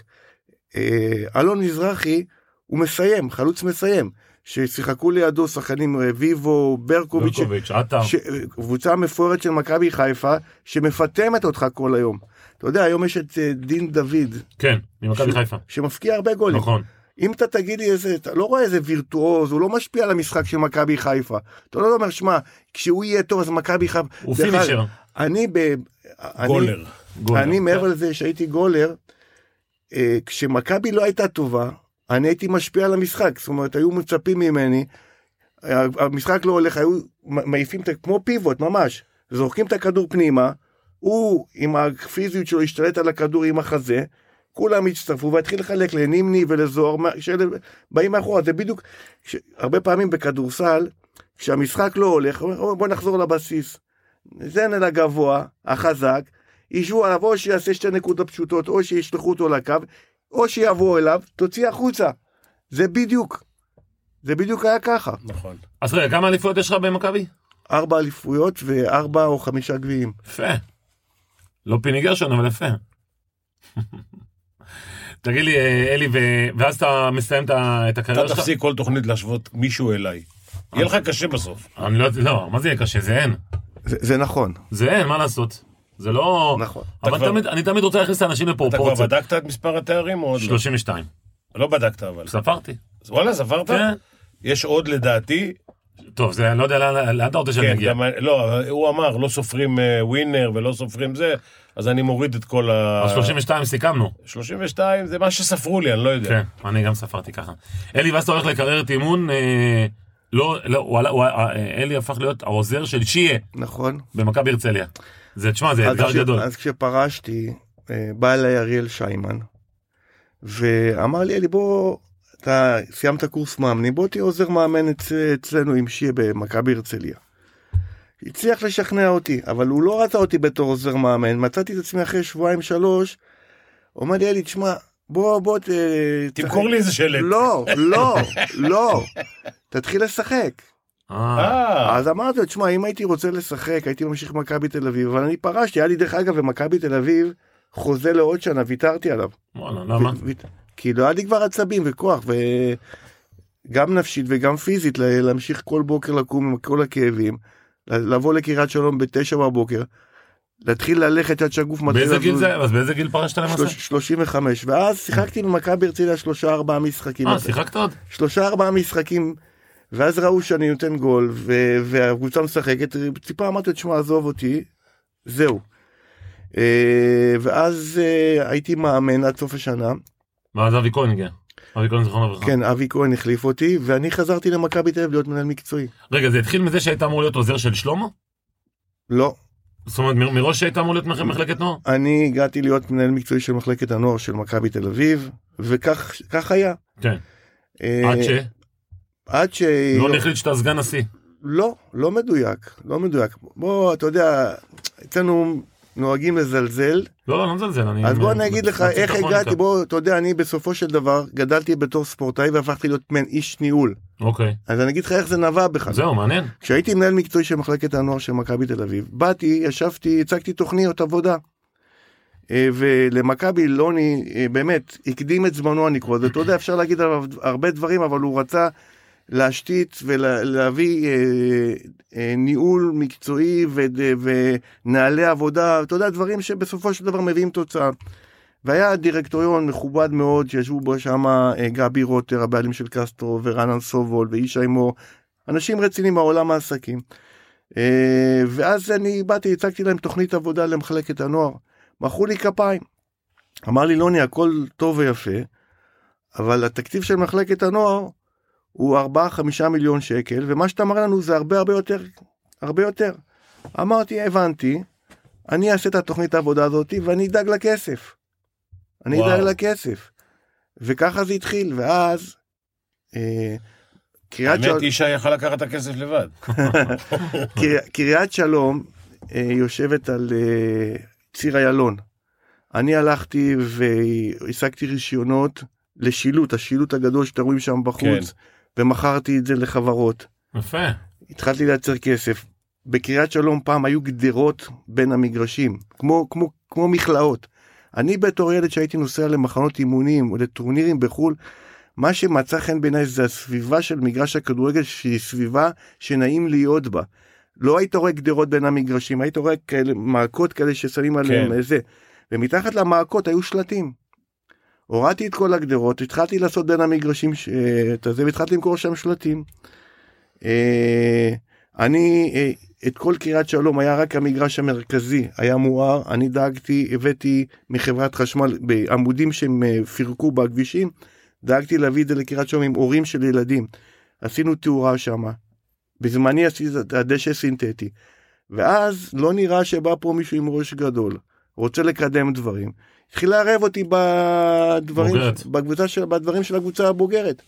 C: אה, אלון מזרחי הוא מסיים, חלוץ מסיים. ששיחקו לידו שחקנים אה, ויבו, ברקוביץ',
A: ברקוביץ', עטר.
C: ש... קבוצה מפוארת של מכבי חיפה שמפטמת אותך כל היום. אתה יודע, היום יש את אה, דין דוד
A: כן, ממכבי חיפה.
C: שמפקיע הרבה גולים.
A: נכון.
C: אם אתה תגיד לי איזה, אתה לא רואה איזה וירטואוז, הוא לא משפיע על המשחק של מכבי חיפה. אתה לא אומר, שמע, כשהוא יהיה טוב אז מכבי חיפה...
A: הוא
C: דרך אגב,
A: פינישר.
C: אני ב... אני-
B: גולר.
A: גולר.
C: אני מעבר לזה שהייתי גולר, אה, כשמכבי לא הייתה טובה, אני הייתי משפיע על המשחק, זאת אומרת, היו מצפים ממני, אה, המשחק לא הולך, היו מ- מעיפים את ה- כמו פיבוט, ממש, זורקים את הכדור פנימה, הוא עם הפיזיות שלו השתלט על הכדור עם החזה, כולם הצטרפו והתחיל לחלק לנימני ולזוהר, מה- שאלה באים מאחורה, זה בדיוק, ש- הרבה פעמים בכדורסל, כשהמשחק לא הולך, אומר, "או, בוא נחזור לבסיס. זן אל הגבוה, החזק, ישבו עליו או שיעשה שתי נקודות פשוטות, או שישלחו אותו לקו, או שיבואו אליו, תוציא החוצה. זה בדיוק. זה בדיוק היה ככה.
B: נכון.
A: אז רגע, כמה אליפויות יש לך במכבי?
C: ארבע אליפויות וארבע או חמישה גביעים.
A: יפה. לא פיני גרשון, אבל יפה. תגיד לי, אה, אלי, ו- ואז אתה מסיים את ה- את
B: אתה
A: הקריירה שלך?
B: תפסיק כל תוכנית להשוות מישהו אליי. יהיה לך קשה בסוף.
A: אני לא, לא, מה זה יהיה קשה? זה אין.
C: זה, זה נכון,
A: זה אין, מה לעשות? זה לא...
C: נכון.
A: אבל
B: אתה כבר-
A: תמיד, אני תמיד רוצה להכניס את האנשים
B: אתה כבר
A: לפרופורציות.
B: בדקת את מספר התארים או עוד לא?
A: 32.
B: לא בדקת אבל.
A: ספרתי.
B: וואלה, ספרת?
A: כן.
B: יש עוד לדעתי.
A: טוב, זה, אני לא יודע לאן לאן אתה רוצה שאני
B: כן,
A: אגיע.
B: גם... לא, הוא אמר, לא סופרים אה, ווינר ולא סופרים זה, אז אני מוריד את כל ה...
A: אז 32 סיכמנו.
B: 32 זה מה שספרו לי, אני לא יודע.
A: כן, אני גם ספרתי ככה. אלי, ואז אתה הולך לקריירת אימון, אה, לא, לא, הוא עלה- הוא ה- אה, אלי הפך להיות העוזר של שיה
C: נכון.
A: במכבי הרצליה. זה, תשמע,
B: כן,
A: זה
C: אז,
A: אתגר גדול.
C: אז כשפרשתי, אה, בא אליי אריאל שיימן, ואמר לי, אלי, בוא, אתה סיימת קורס מאמנים, בוא תהיה עוזר מאמן אצ, אצלנו עם שיה במכבי הרצליה. הצליח לשכנע אותי, אבל הוא לא רצה אותי בתור עוזר מאמן, מצאתי את עצמי אחרי שבועיים שלוש, הוא אומר לי, אלי, תשמע, בוא, בוא, ת...
B: תמכור לי איזה שלט.
C: לא, לא, לא, תתחיל לשחק.
A: אה,
B: אה,
C: אז אמרתי לו, תשמע, אם הייתי רוצה לשחק, הייתי ממשיך במכבי תל אביב, אבל אני פרשתי, היה לי דרך אגב במכבי תל אביב חוזה לעוד שנה, ויתרתי עליו.
A: וואלה, למה?
C: ו- ו- כי לא היה לי כבר עצבים וכוח, וגם נפשית וגם פיזית, ל- להמשיך כל בוקר לקום עם כל הכאבים, ל- לבוא לקריית שלום בתשע בבוקר, להתחיל ללכת עד שהגוף מתחיל...
A: באיזה גיל
C: לזוז.
A: זה? אז באיזה גיל פרשת למעשה?
C: שלוש- 35, ואז שיחקתי במכבי הרצליה שלושה ארבעה משחקים.
A: אה, שיחקת עוד?
C: שלושה ארבעה משחקים ואז ראו שאני נותן גול ו- והקבוצה משחקת טיפה אמרתי לו תשמע עזוב אותי זהו. אה, ואז אה, הייתי מאמן עד סוף השנה
A: אה. ואז אבי כהן הגיע. אבי כהן זיכרונו לברכה.
C: כן אבי כהן החליף אותי ואני חזרתי למכבי תל אביב להיות מנהל מקצועי
A: רגע, זה התחיל מזה שהיית אמור להיות עוזר של שלמה?
C: לא
A: זאת אומרת, מ- מראש שהיית אמור להיות מח- מחלקת נוער?
C: אני הגעתי להיות מנהל מקצועי של מחלקת הנוער של מכבי תל אביב וכך כך היה.
A: כן.
C: אה,
A: עד ש...
C: עד ש...
A: לא החליט שאתה סגן נשיא.
C: לא, לא מדויק, לא מדויק. בוא, אתה יודע, אצלנו נוהגים לזלזל,
A: לא, לא, לא מזלזל, אני...
C: אז בוא אני אגיד לך
A: מציג את
C: איך
A: הכרוניקה.
C: הגעתי, בוא, אתה יודע, אני בסופו של דבר גדלתי בתור ספורטאי והפכתי להיות מן איש ניהול.
A: אוקיי.
C: אז אני אגיד לך איך זה נבע בכלל.
A: זהו, מעניין.
C: כשהייתי מנהל מקצועי של מחלקת הנוער של מכבי תל אביב, באתי, ישבתי, הצגתי תוכניות עבודה. אה, ולמכבי לוני אה, באמת הקדים את זמנו הנקרא הזה, אתה יודע אפשר להגיד עליו הרבה דברים אבל הוא רצה להשתית ולהביא אה, אה, ניהול מקצועי וד- ונהלי עבודה, אתה יודע דברים שבסופו של דבר מביאים תוצאה. והיה דירקטוריון מכובד מאוד שישבו בו שם גבי רוטר הבעלים של קסטרו ורנן סובול וישי מור אנשים רציניים מעולם העסקים. אה, ואז אני באתי הצגתי להם תוכנית עבודה למחלקת הנוער מחאו לי כפיים. אמר לי לוני הכל טוב ויפה אבל התקציב של מחלקת הנוער הוא 4-5 מיליון שקל, ומה שאתה מראה לנו זה הרבה הרבה יותר, הרבה יותר. אמרתי, הבנתי, אני אעשה את התוכנית העבודה הזאת ואני אדאג לכסף. אני
B: וואו.
C: אדאג לכסף. וככה זה התחיל, ואז... אה, קריית
B: האמת,
C: של-
B: ישי יכל לקחת את הכסף לבד.
C: קרי- קריית שלום אה, יושבת על אה, ציר איילון. אני הלכתי והשגתי רישיונות לשילוט, השילוט הגדול שאתם רואים שם בחוץ, ומכרתי את זה לחברות.
A: יפה.
C: התחלתי לייצר כסף. בקריית שלום פעם היו גדרות בין המגרשים, כמו, כמו, כמו מכלאות. אני בתור ילד שהייתי נוסע למחנות אימונים או לטורנירים בחו"ל, מה שמצא חן בעיניי זה הסביבה של מגרש הכדורגל שהיא סביבה שנעים להיות בה. לא היית רואה גדרות בין המגרשים, היית רואה כאלה מעקות כאלה ששמים עליהם
B: כן.
C: כן. זה. ומתחת למעקות היו שלטים. הורדתי את כל הגדרות, התחלתי לעשות בין המגרשים ש... את הזה, והתחלתי למכור שם שלטים. אה, אני, אה, את כל קריית שלום היה רק המגרש המרכזי, היה מואר, אני דאגתי, הבאתי מחברת חשמל בעמודים שהם אה, פירקו בכבישים, דאגתי להביא את זה לקריית שלום עם הורים של ילדים. עשינו תאורה שם. בזמני עשיתי את הדשא סינתטי. ואז לא נראה שבא פה מישהו עם ראש גדול, רוצה לקדם דברים. התחיל לערב אותי בדברים,
A: בוגרת.
C: בקבוצה של, בדברים של הקבוצה הבוגרת.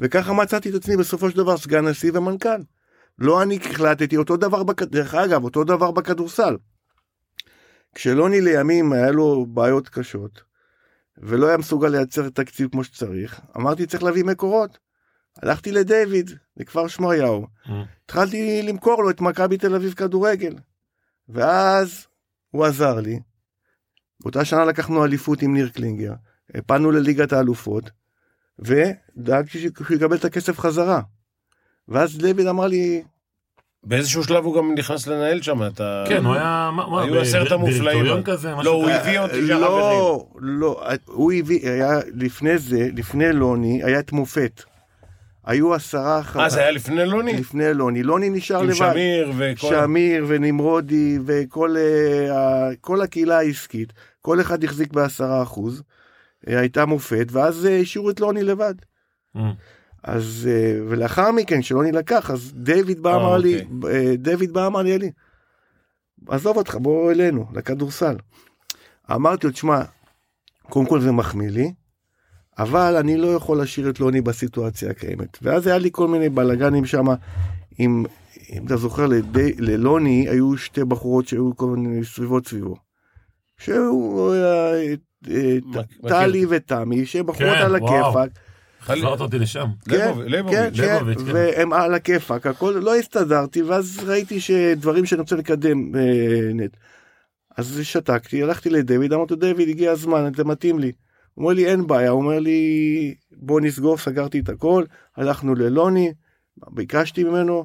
C: וככה מצאתי את עצמי בסופו של דבר סגן נשיא ומנכ"ל. לא אני החלטתי, אותו דבר, בכ... דרך אגב, אותו דבר בכדורסל. כשלוני לימים היה לו בעיות קשות, ולא היה מסוגל לייצר תקציב כמו שצריך, אמרתי צריך להביא מקורות. הלכתי לדיוויד, לכפר שמריהו,
A: Mm.
C: התחלתי למכור לו את מכבי תל אביב כדורגל. ואז הוא עזר לי. באותה שנה לקחנו אליפות עם ניר קלינגר, הפלנו לליגת האלופות, ודאגתי ש- שהוא יקבל את הכסף חזרה. ואז דוד אמר לי,
B: באיזשהו שלב הוא גם נכנס לנהל שם את ה...
A: כן, הוא היה... מה- מה,
B: היו
A: ב-
B: עשרת
A: ב-
B: המופלאים.
A: דירקטוריון כזה, משהו
B: לא, הוא
A: כזה.
B: הביא אותי שם אחרים.
C: אה, לא, לא, הוא הביא, היה לפני זה, לפני לוני, היה את מופת. היו עשרה אחר...
B: אה, זה היה לפני לוני?
C: לפני לוני, לוני נשאר
B: עם
C: לבד.
B: שמיר וכל...
C: שמיר ונמרודי וכל אה, ה- כל הקהילה העסקית, כל אחד החזיק בעשרה אחוז, אה, הייתה מופת, ואז אה, השאירו את לוני לבד.
A: Mm.
B: לא.
C: אז אה, ולאחר מכן שלא נלקח אז דיוויד בא
B: אה,
C: אמר לי
B: אוקיי.
C: אה, דיוויד בא אמר לי אלי עזוב אותך בוא אלינו לכדורסל. אמרתי לו תשמע קודם כל זה מחמיא לי אבל אני לא יכול להשאיר את לוני בסיטואציה הקיימת ואז היה לי כל מיני בלאגנים שם עם אם אתה זוכר לדי, ללוני היו שתי בחורות שהיו כל מיני סביבות סביבו. שהוא אה, אה,
B: מכיר.
C: טלי ותמי שהן בחורות
A: כן,
C: על
A: וואו.
C: הכיפאק.
B: חל-
A: החזרת אותי לשם.
B: ליבוב-
C: כן, כן,
B: ליבוביץ'.
C: כן,
A: ליבוביץ', כן.
C: והם על הכיפאק, הכל לא הסתדרתי, ואז ראיתי שדברים שאני רוצה לקדם, אה, נט. אז שתקתי, הלכתי לדויד, אמרתי לו, דויד, הגיע הזמן, זה מתאים לי. הוא אומר לי, אין בעיה, הוא אומר לי, בוא נסגור, סגרתי את הכל, הלכנו ללוני, ביקשתי ממנו,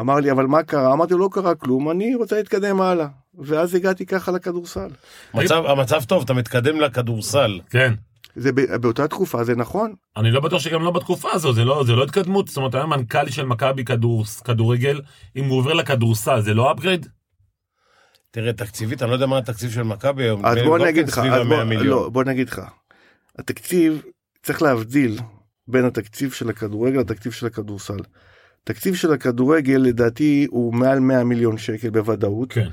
C: אמר לי, אבל מה קרה? אמרתי לו, לא קרה כלום, אני רוצה להתקדם הלאה. ואז הגעתי ככה לכדורסל.
B: מצב- המצב טוב, אתה מתקדם לכדורסל.
A: כן.
C: זה ב- באותה תקופה, זה נכון?
A: אני לא בטוח שגם לא בתקופה הזו, זה לא, זה לא התקדמות, זאת אומרת, היה מנכ"ל של מכבי כדור, כדורגל, אם הוא עובר לכדורסל, זה לא upgrade?
B: תראה, תקציבית, אני לא יודע מה התקציב של מכבי היום.
C: אז
B: נדמה לי
C: בוא
B: גם
C: נגיד
B: כן
C: לך,
B: סביב
C: אז בוא,
B: ה-100 מיליון.
C: לא, בוא נגיד לך, התקציב, צריך להבדיל בין התקציב של הכדורגל לתקציב של הכדורסל. תקציב של הכדורגל לדעתי הוא מעל 100 מיליון שקל בוודאות,
A: כן.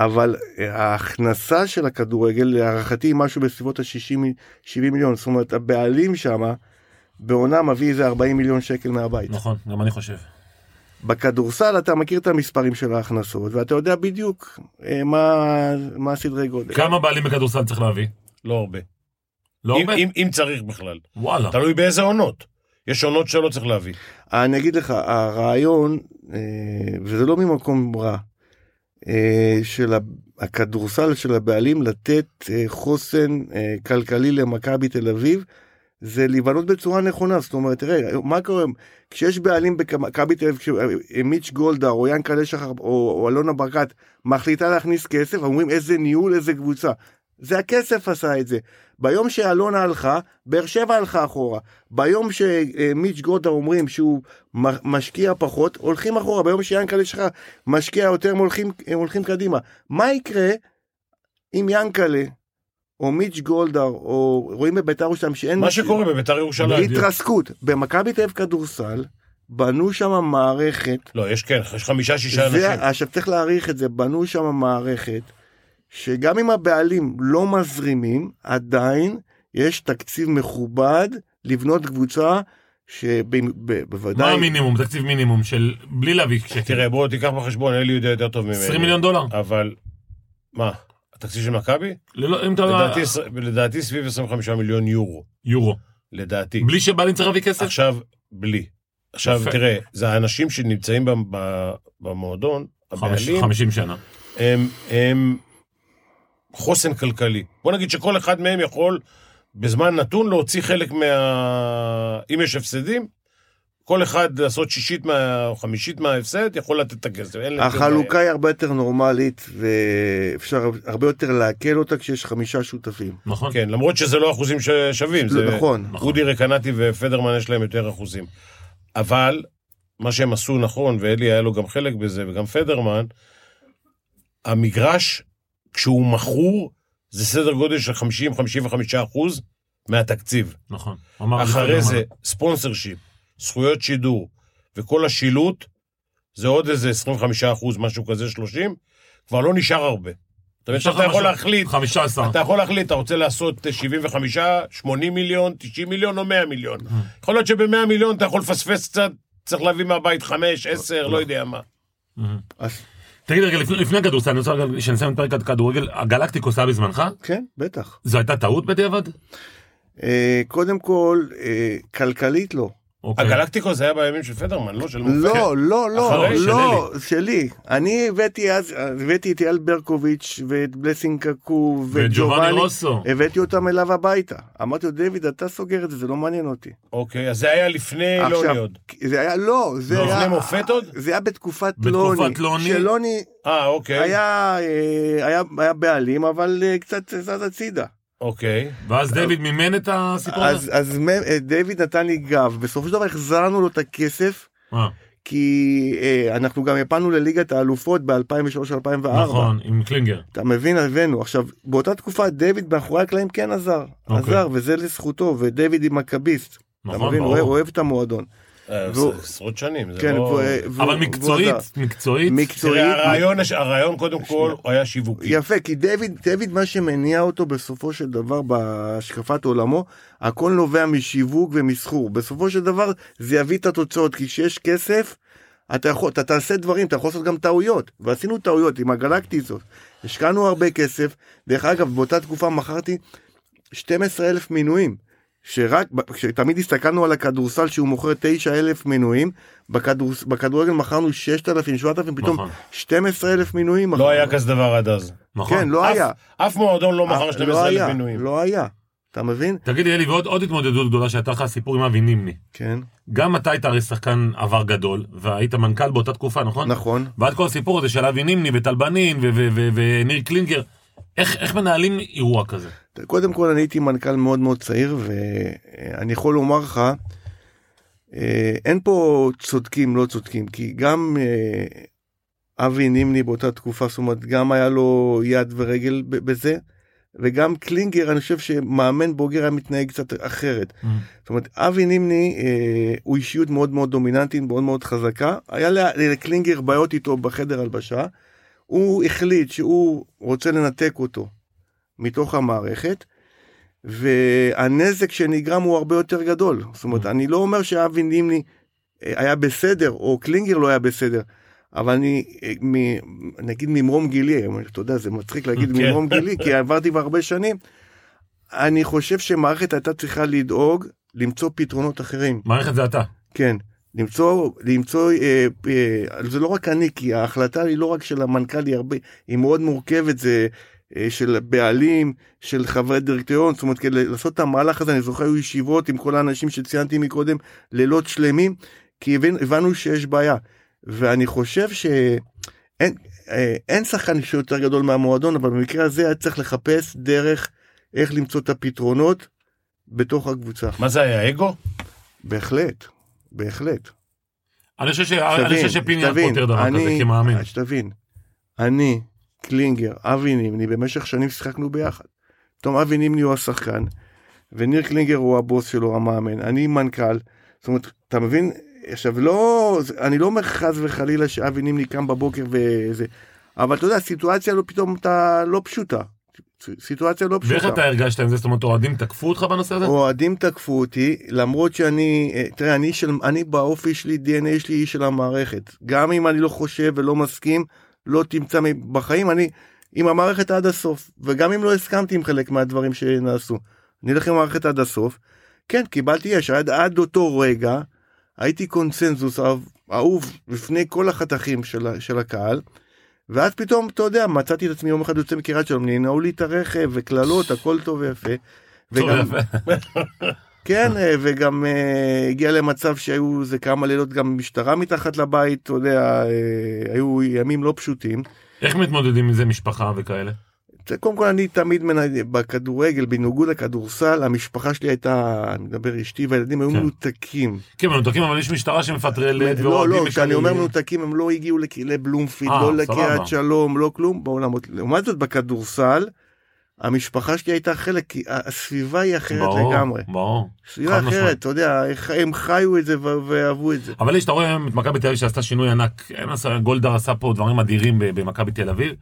C: אבל ההכנסה של הכדורגל להערכתי היא משהו בסביבות ה-60-70 מיליון, זאת אומרת הבעלים שמה בעונה מביא איזה 40 מיליון שקל מהבית.
A: נכון, גם אני חושב.
C: בכדורסל אתה מכיר את המספרים של ההכנסות ואתה יודע בדיוק אה, מה, מה הסדרי גודל.
A: כמה בעלים בכדורסל צריך להביא?
B: לא הרבה.
A: לא
B: אם-
A: הרבה?
B: אם- אם צריך בכלל.
A: וואלה.
B: תלוי באיזה עונות. יש עונות שלא צריך להביא.
C: אה, אני אגיד לך הרעיון אה, וזה לא ממקום רע אה, של ה- הכדורסל של הבעלים לתת אה, חוסן אה, כלכלי למכבי תל אביב. זה להיבנות בצורה נכונה זאת אומרת תראה מה קורה כשיש בעלים במכבי תל אביב כשמיץ' גולדה או ינקלה שחר או, או אלונה ברקת מחליטה להכניס כסף אומרים איזה ניהול איזה קבוצה. זה הכסף עשה את זה. ביום שאלונה הלכה באר שבע הלכה אחורה ביום שמיץ' גולדה אומרים שהוא מ- משקיע פחות הולכים אחורה ביום שיאנקלה שלך משקיע יותר הם הולכים הם הולכים קדימה מה יקרה אם יאנקלה או מיץ' גולדהר, או רואים בביתר ירושלים שאין...
B: מה
C: נשים.
B: שקורה בביתר ירושלים.
C: התרסקות. במכבי תל אביב כדורסל, בנו שם מערכת
B: לא, יש כן, יש חמישה, שישה
C: זה-
B: אנשים.
C: עכשיו צריך להעריך את זה, בנו שם מערכת שגם אם הבעלים לא מזרימים, עדיין יש תקציב מכובד לבנות קבוצה
A: מה
C: שבוודאי...
A: המינימום, תקציב מינימום של בלי להביא שקל?
B: תראה, בוא תיקח בחשבון, אלי יודע יותר טוב ממני.
A: 20 מיליון דולר.
B: אבל, מה, התקציב של מכבי?
A: ללא- אם אתה
B: לדעתי עשר- לדעתי סביב 25 מיליון יורו.
A: יורו.
B: לדעתי.
A: בלי שבעלים צריך להביא כסף?
B: עכשיו, בלי. עכשיו,
A: יפה.
B: תראה, זה האנשים שנמצאים במ- ב- במועדון,
A: חמש-
B: הבעלים,
A: 50 שנה.
B: הם, הם חוסן כלכלי. בוא נגיד שכל אחד מהם יכול בזמן נתון להוציא חלק מה... אם יש הפסדים, כל אחד לעשות שישית מה... או חמישית מההפסד, יכול לתת את הכסף. אין להם שום
C: החלוקה היא הרבה יותר נורמלית ואפשר הרבה יותר לעכל אותה כשיש חמישה שותפים.
A: נכון?
B: בעיה. כן, למרות שזה לא אחוזים ש- שווים.
C: זה
B: זה...
C: נכון.
A: נכון.
B: אודי רקנטי ופדרמן יש להם יותר אחוזים. אבל מה שהם עשו נכון, ואלי היה לו גם חלק בזה, וגם פדרמן, המגרש, כשהוא מכור, זה סדר גודל של 50-55 אחוז מהתקציב.
A: נכון. אמר
B: אחרי
A: לי
B: זה,
A: פדרמן.
B: ספונסר שיפ, זכויות שידור, וכל השילוט, זה עוד איזה 25 אחוז, משהו כזה, 30, כבר לא נשאר הרבה. זאת אומרת,
A: נשאר
B: שאתה יכול
A: חמישה-
B: להחליט
A: 15.
B: אתה יכול להחליט, אתה רוצה לעשות 75, 80 מיליון, 90 מיליון או 100 מיליון. יכול להיות שב-100 מיליון אתה יכול לפספס קצת, צריך להביא מהבית 5, 10, לא יודע מה.
C: אז
A: תגיד רגע, לפני- לפני הכדורסל, אני רוצה רגע שנסיים את פרק הכדורגל, הגלקטיקוס היה בזמנך?
C: כן, בטח.
A: זו הייתה טעות בדיעבד?
C: אה, קודם כל, אה, כלכלית לא.
A: אוקיי.
B: הגלקטיקוס היה בימים של פדרמן, לא של מופקר.
C: לא, לא, לא,
B: אחרי, של
C: לא, שלי. אני הבאתי אז, הבאתי את אייל ברקוביץ' ואת בלסינג קקו
A: ואת
C: ואת
A: ג'ובאני
C: ג'ובאני,
A: רוסו.
C: הבאתי אותם אליו הביתה. אמרתי לו, דיוויד, אתה סוגר את זה, זה לא מעניין אותי.
B: אוקיי, אז זה היה לפני
C: עכשיו,
B: לוני עוד.
C: זה היה, לא, זה
A: לא,
C: היה...
B: לפני מופת עוד?
C: זה היה בתקופת
A: בתקופת
C: לוני.
A: לוני?
C: שלוני
B: אה, אוקיי,
C: היה אה, היה- היה בעלים, אבל אה, קצת זז הצידה.
B: אוקיי.
A: ואז דיוויד מימן את הסיפור הזה?
C: אה, אז אז מ- אה, דיוויד נתן לי גב, בסופו של דבר החזרנו לו את הכסף.
A: אה,
C: כי אה, אנחנו גם הפלנו לליגת האלופות ב-2003-2004.
A: נכון, עם קלינגר.
C: אתה מבין, הבאנו. עכשיו, באותה תקופה דיוויד מאחורי הקלעים כן עזר.
A: אוקיי.
C: עזר, וזה לזכותו, ודיוויד היא מכביסט. אתה
A: נכון,
C: מבין, אוהב-
A: ברור.
C: אוהב את המועדון.
B: אה,
C: והוא-
B: זה עשרות שנים, זה
C: כן,
B: לא...
C: והוא- והוא-
A: אבל
C: והוא
A: מקצועית,
C: עזר.
A: מקצועית,
C: מקצועית.
B: תראה, הרעיון הש- הרעיון קודם כל הוא היה שיווקי.
C: יפה, כי דיוויד, דיוויד מה שמניע אותו בסופו של דבר בהשקפת עולמו, הכל נובע משיווק ומסחור. בסופו של דבר זה יביא את התוצאות, כי כשיש כסף, אתה יכול, אתה תעשה דברים, אתה יכול לעשות גם טעויות, ועשינו טעויות עם הגלקטיסות. השקענו הרבה כסף, דרך אגב, באותה תקופה מכרתי 12 אלף מינויים. שרק, כשתמיד הסתכלנו על הכדורסל שהוא מוכר 9,000 מינויים, בכדור, בכדורגל מכרנו 6,000, 7,000, פתאום
A: נכון.
C: 12,000 מינויים.
B: לא
C: מכרנו.
B: היה כזה דבר עד אז.
A: נכון.
C: כן, לא
B: אף-
C: היה.
B: אף מועדון לא מכר
C: אה,
B: 12,000
C: היה,
B: מינויים.
C: לא היה, אתה מבין?
A: תגיד לי, אלי, ועוד עוד התמודדות גדולה שהייתה לך הסיפור עם אבי נימני.
C: כן,
A: גם אתה היית הרי שחקן עבר גדול, והיית מנכ"ל באותה תקופה, נכון?
C: נכון.
A: ועד כל הסיפור הזה של אבי נימני וטלבנין ו- ו- ו- וניר קלינגר, איך איך מנהלים אירוע כזה?
C: קודם כל אני הייתי מנכ"ל מאוד מאוד צעיר ואני יכול לומר לך, אה, אין פה צודקים לא צודקים, כי גם אה, אבי נימני באותה תקופה, זאת אומרת, גם היה לו יד ורגל ב- בזה, וגם קלינגר, אני חושב שמאמן בוגר היה מתנהג קצת אחרת. זאת אומרת, אבי נימני אה, הוא אישיות מאוד מאוד דומיננטית, מאוד מאוד חזקה. היה ל- לקלינגר בעיות איתו בחדר הלבשה. הוא החליט שהוא רוצה לנתק אותו מתוך המערכת, והנזק שנגרם הוא הרבה יותר גדול. זאת אומרת, אני לא אומר שאבי נימני אה, היה בסדר, או קלינגר לא היה בסדר. אבל אני, אה, מ, נגיד ממרום גילי, היום, אתה יודע, זה מצחיק להגיד
B: כן.
C: ממרום גילי, כי עברתי כבר הרבה שנים, אני חושב שמערכת הייתה צריכה לדאוג למצוא פתרונות אחרים.
A: מערכת זה אתה.
C: כן. למצוא, למצוא, אה, אה, זה לא רק אני, כי ההחלטה היא לא רק של המנכ"ל, היא, הרבה, היא מאוד מורכבת, זה אה, של בעלים, של חברי דירקטוריון, זאת אומרת, כדי לעשות את המהלך הזה, אני זוכר, היו ישיבות עם כל האנשים שציינתי מקודם, לילות שלמים, כי הבנ, הבנו שיש בעיה. ואני חושב שאין אה, אין שחקן שיותר גדול מהמועדון, אבל במקרה הזה היה צריך לחפש דרך איך למצוא את הפתרונות בתוך הקבוצה.
B: מה זה היה, אגו?
C: בהחלט, בהחלט.
A: אני חושב ש- אני חושב שפיני היה
C: שתבין,
A: פותר דבר כזה
C: אני- אה,
A: כמאמן.
C: שתבין, אני, קלינגר, אבי נימני, במשך שנים שיחקנו ביחד. פתאום אבי נימני הוא השחקן, וניר קלינגר הוא הבוס שלו, המאמן, אני מנכ"ל. זאת אומרת, אתה מבין? עכשיו, לא, אני לא אומר חס וחלילה שאבי נימני קם בבוקר וזה, אבל אתה יודע, הסיטואציה לא פתאום אתה לא פשוטה. סיטואציה לא פשוטה.
A: ואיך אתה הרגשת עם זה? זאת אומרת, אוהדים תקפו אותך בנושא הזה?
C: אוהדים תקפו אותי למרות שאני אה, תראה אני של אני באופי שלי dna שלי איש של המערכת גם אם אני לא חושב ולא מסכים לא תמצא מ- בחיים אני עם המערכת עד הסוף וגם אם לא הסכמתי עם חלק מהדברים שנעשו אני אלך עם המערכת עד הסוף. כן קיבלתי יש עד, עד אותו רגע הייתי קונסנזוס אהוב- אהוב בפני כל החתכים של, ה- של הקהל. ואז פתאום אתה יודע מצאתי את עצמי יום אחד יוצא מקריית שלום ננעו לי את הרכב וקללות הכל טוב ויפה.
A: טוב,
C: וגם-
A: יפה.
C: כן, אה, וגם אה, הגיע למצב שהיו איזה כמה לילות גם משטרה מתחת לבית, אתה יודע, אה, היו ימים לא פשוטים.
A: איך מתמודדים עם זה משפחה וכאלה?
C: זה, קודם כל אני תמיד מנהל, בכדורגל, בניגוד לכדורסל, המשפחה שלי הייתה, אני מדבר אשתי והילדים היו
A: כן.
C: מנותקים.
A: כן, מנותקים, אבל יש משטרה שמפטרלת
C: לא,
A: ואוהדים
C: לא, כשאני אומר
A: מקללים.
C: מנותקים הם לא הגיעו לק- לבלומפילד,
A: אה,
C: לא
A: סבבה.
C: לקריית שלום, לא כלום בעולמות. לעומת זאת בכדורסל, המשפחה שלי הייתה חלק, כי ה- הסביבה היא אחרת
A: ברור,
C: לגמרי.
A: ברור.
C: סביבה
A: חד משמעית.
C: אחרת, אתה יודע, איך- הם חיו את זה ו- ואהבו את זה.
A: אבל יש, אתה רואה היום את מכבי תל אביב שעשתה שינוי ענק. הם עשה- גולדהר עשה פה דברים אדירים ב- במכבי תל אביב.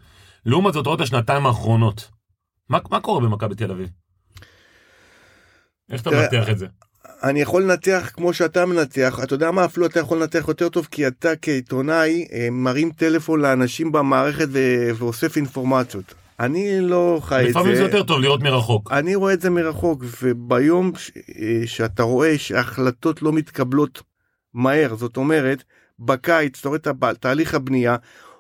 A: לעומת זאת, רואה את השנתיים האחרונות. מה מה קורה במכבי תל אביב? איך אתה
C: תראה,
A: מנתח את זה?
C: אני יכול לנתח כמו שאתה מנתח, אתה יודע מה, אפילו אתה יכול לנתח יותר טוב, כי אתה כעיתונאי אה, מרים טלפון לאנשים במערכת ו- ואוסף אינפורמציות. אני לא חי את
A: לפעמים זה
C: זה,
A: יותר טוב לראות מרחוק.
C: אני רואה את זה מרחוק, וביום ש- אה, שאתה רואה שההחלטות לא מתקבלות מהר, זאת אומרת, בקיץ, אתה רואה את הב- תהליך הבנייה,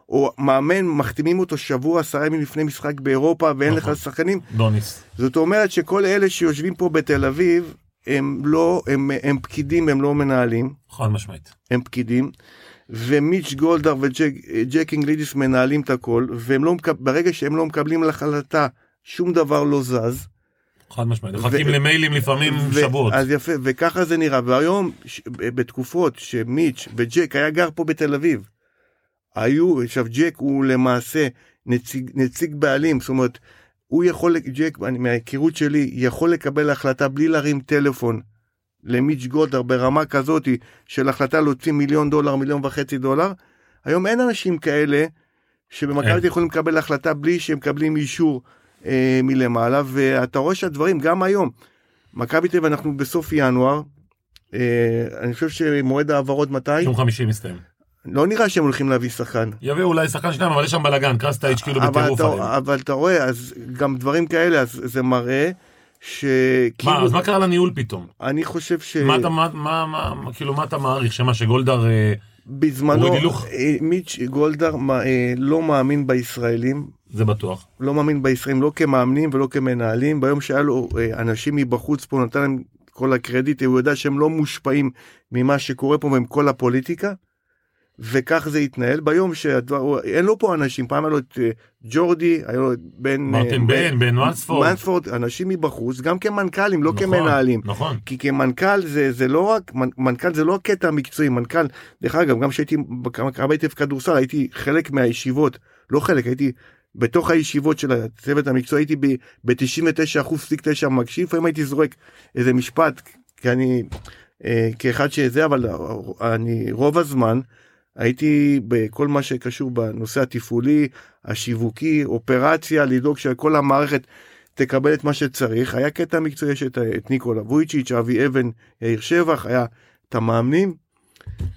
C: או מאמן, מחתימים אותו שבוע, עשרה ימים לפני משחק באירופה, ואין
A: נכון.
C: לך שחקנים,
A: דוניס.
C: זאת אומרת שכל אלה שיושבים פה בתל אביב הם לא הם, הם פקידים הם לא מנהלים
A: חד משמעית.
C: הם פקידים ומיץ' גולדהר וג'ק אינגלידיס מנהלים את הכל והם לא מקב- ברגע שהם לא מקבלים החלטה שום דבר לא זז.
A: חד משמעית.
C: ו-
A: מחכים למיילים לפעמים
C: ו-
A: שבועות.
C: אז יפה וככה זה נראה והיום ש- בתקופות שמיץ' וג'ק היה גר פה בתל אביב. היו עכשיו ג'ק הוא למעשה נציג נציג בעלים זאת אומרת הוא יכול ג'ק אני- מההיכרות שלי יכול לקבל החלטה בלי להרים טלפון. למיץ' גולדהר ברמה כזאת של החלטה להוציא מיליון דולר מיליון וחצי דולר. היום אין אנשים כאלה
A: אין.
C: שבמכבי תל יכולים לקבל החלטה בלי שהם מקבלים אישור אה, מלמעלה ואתה רואה שהדברים גם היום. מכבי תל אביב אנחנו בסוף ינואר. אה, אני חושב שמועד ההעברות מתי?
A: יום חמישי מסתיים.
C: לא נראה שהם הולכים להביא שחקן.
A: יביאו אולי שחקן שניים, אבל יש שם בלאגן, קרסטייץ' כאילו
C: אבל
A: בטירוף עליהם.
C: אתה, אבל אתה רואה אז גם דברים כאלה אז זה מראה שכאילו
A: מה, אז מה קרה לניהול פתאום?
C: אני חושב ש...
A: מה אתה, מה, מה, מה, כאילו, מה אתה מעריך? שמה שגולדהר... אה,
C: בזמנו
A: אורי דילוך.
C: אה, מיץ' גולדהר מה, אה, לא מאמין בישראלים,
A: זה בטוח.
C: לא מאמין בישראלים לא כמאמנים ולא כמנהלים. ביום שהיה לו אה, אנשים מבחוץ פה, נתן להם כל הקרדיט, הוא יודע שהם לא מושפעים ממה שקורה פה ועם כל הפוליטיקה. וכך זה התנהל ביום שהדבר, הוא- אין לו פה אנשים, פעם היה לו את אה, ג'ורדי, היה לו את בן,
A: מרטין בן, בן ונספורד.
C: מנספורד, אנשים מבחוץ, גם כמנכ"לים, לא
A: נכון,
C: כמנהלים.
A: נכון.
C: כי כמנכ"ל זה, זה לא רק, מנ- מנכ"ל זה לא הקטע המקצועי, מנכ"ל, דרך אגב, גם כשהייתי במכבי תל אביב כדורסל, הייתי חלק מהישיבות, לא חלק, הייתי בתוך הישיבות של הצוות המקצועי, הייתי ב-99.9 מקשיב, לפעמים הייתי זורק איזה משפט, כי אני, אה, כאחד שזה, אבל אני רוב הזמן הייתי בכל מה שקשור בנושא התפעולי, השיווקי, אופרציה, לדאוג שכל המערכת תקבל את מה שצריך. היה קטע מקצועי, יש את, אה, את ניקולה וויצ'יץ', אבי אבן, יאיר שבח, היה את המאמנים.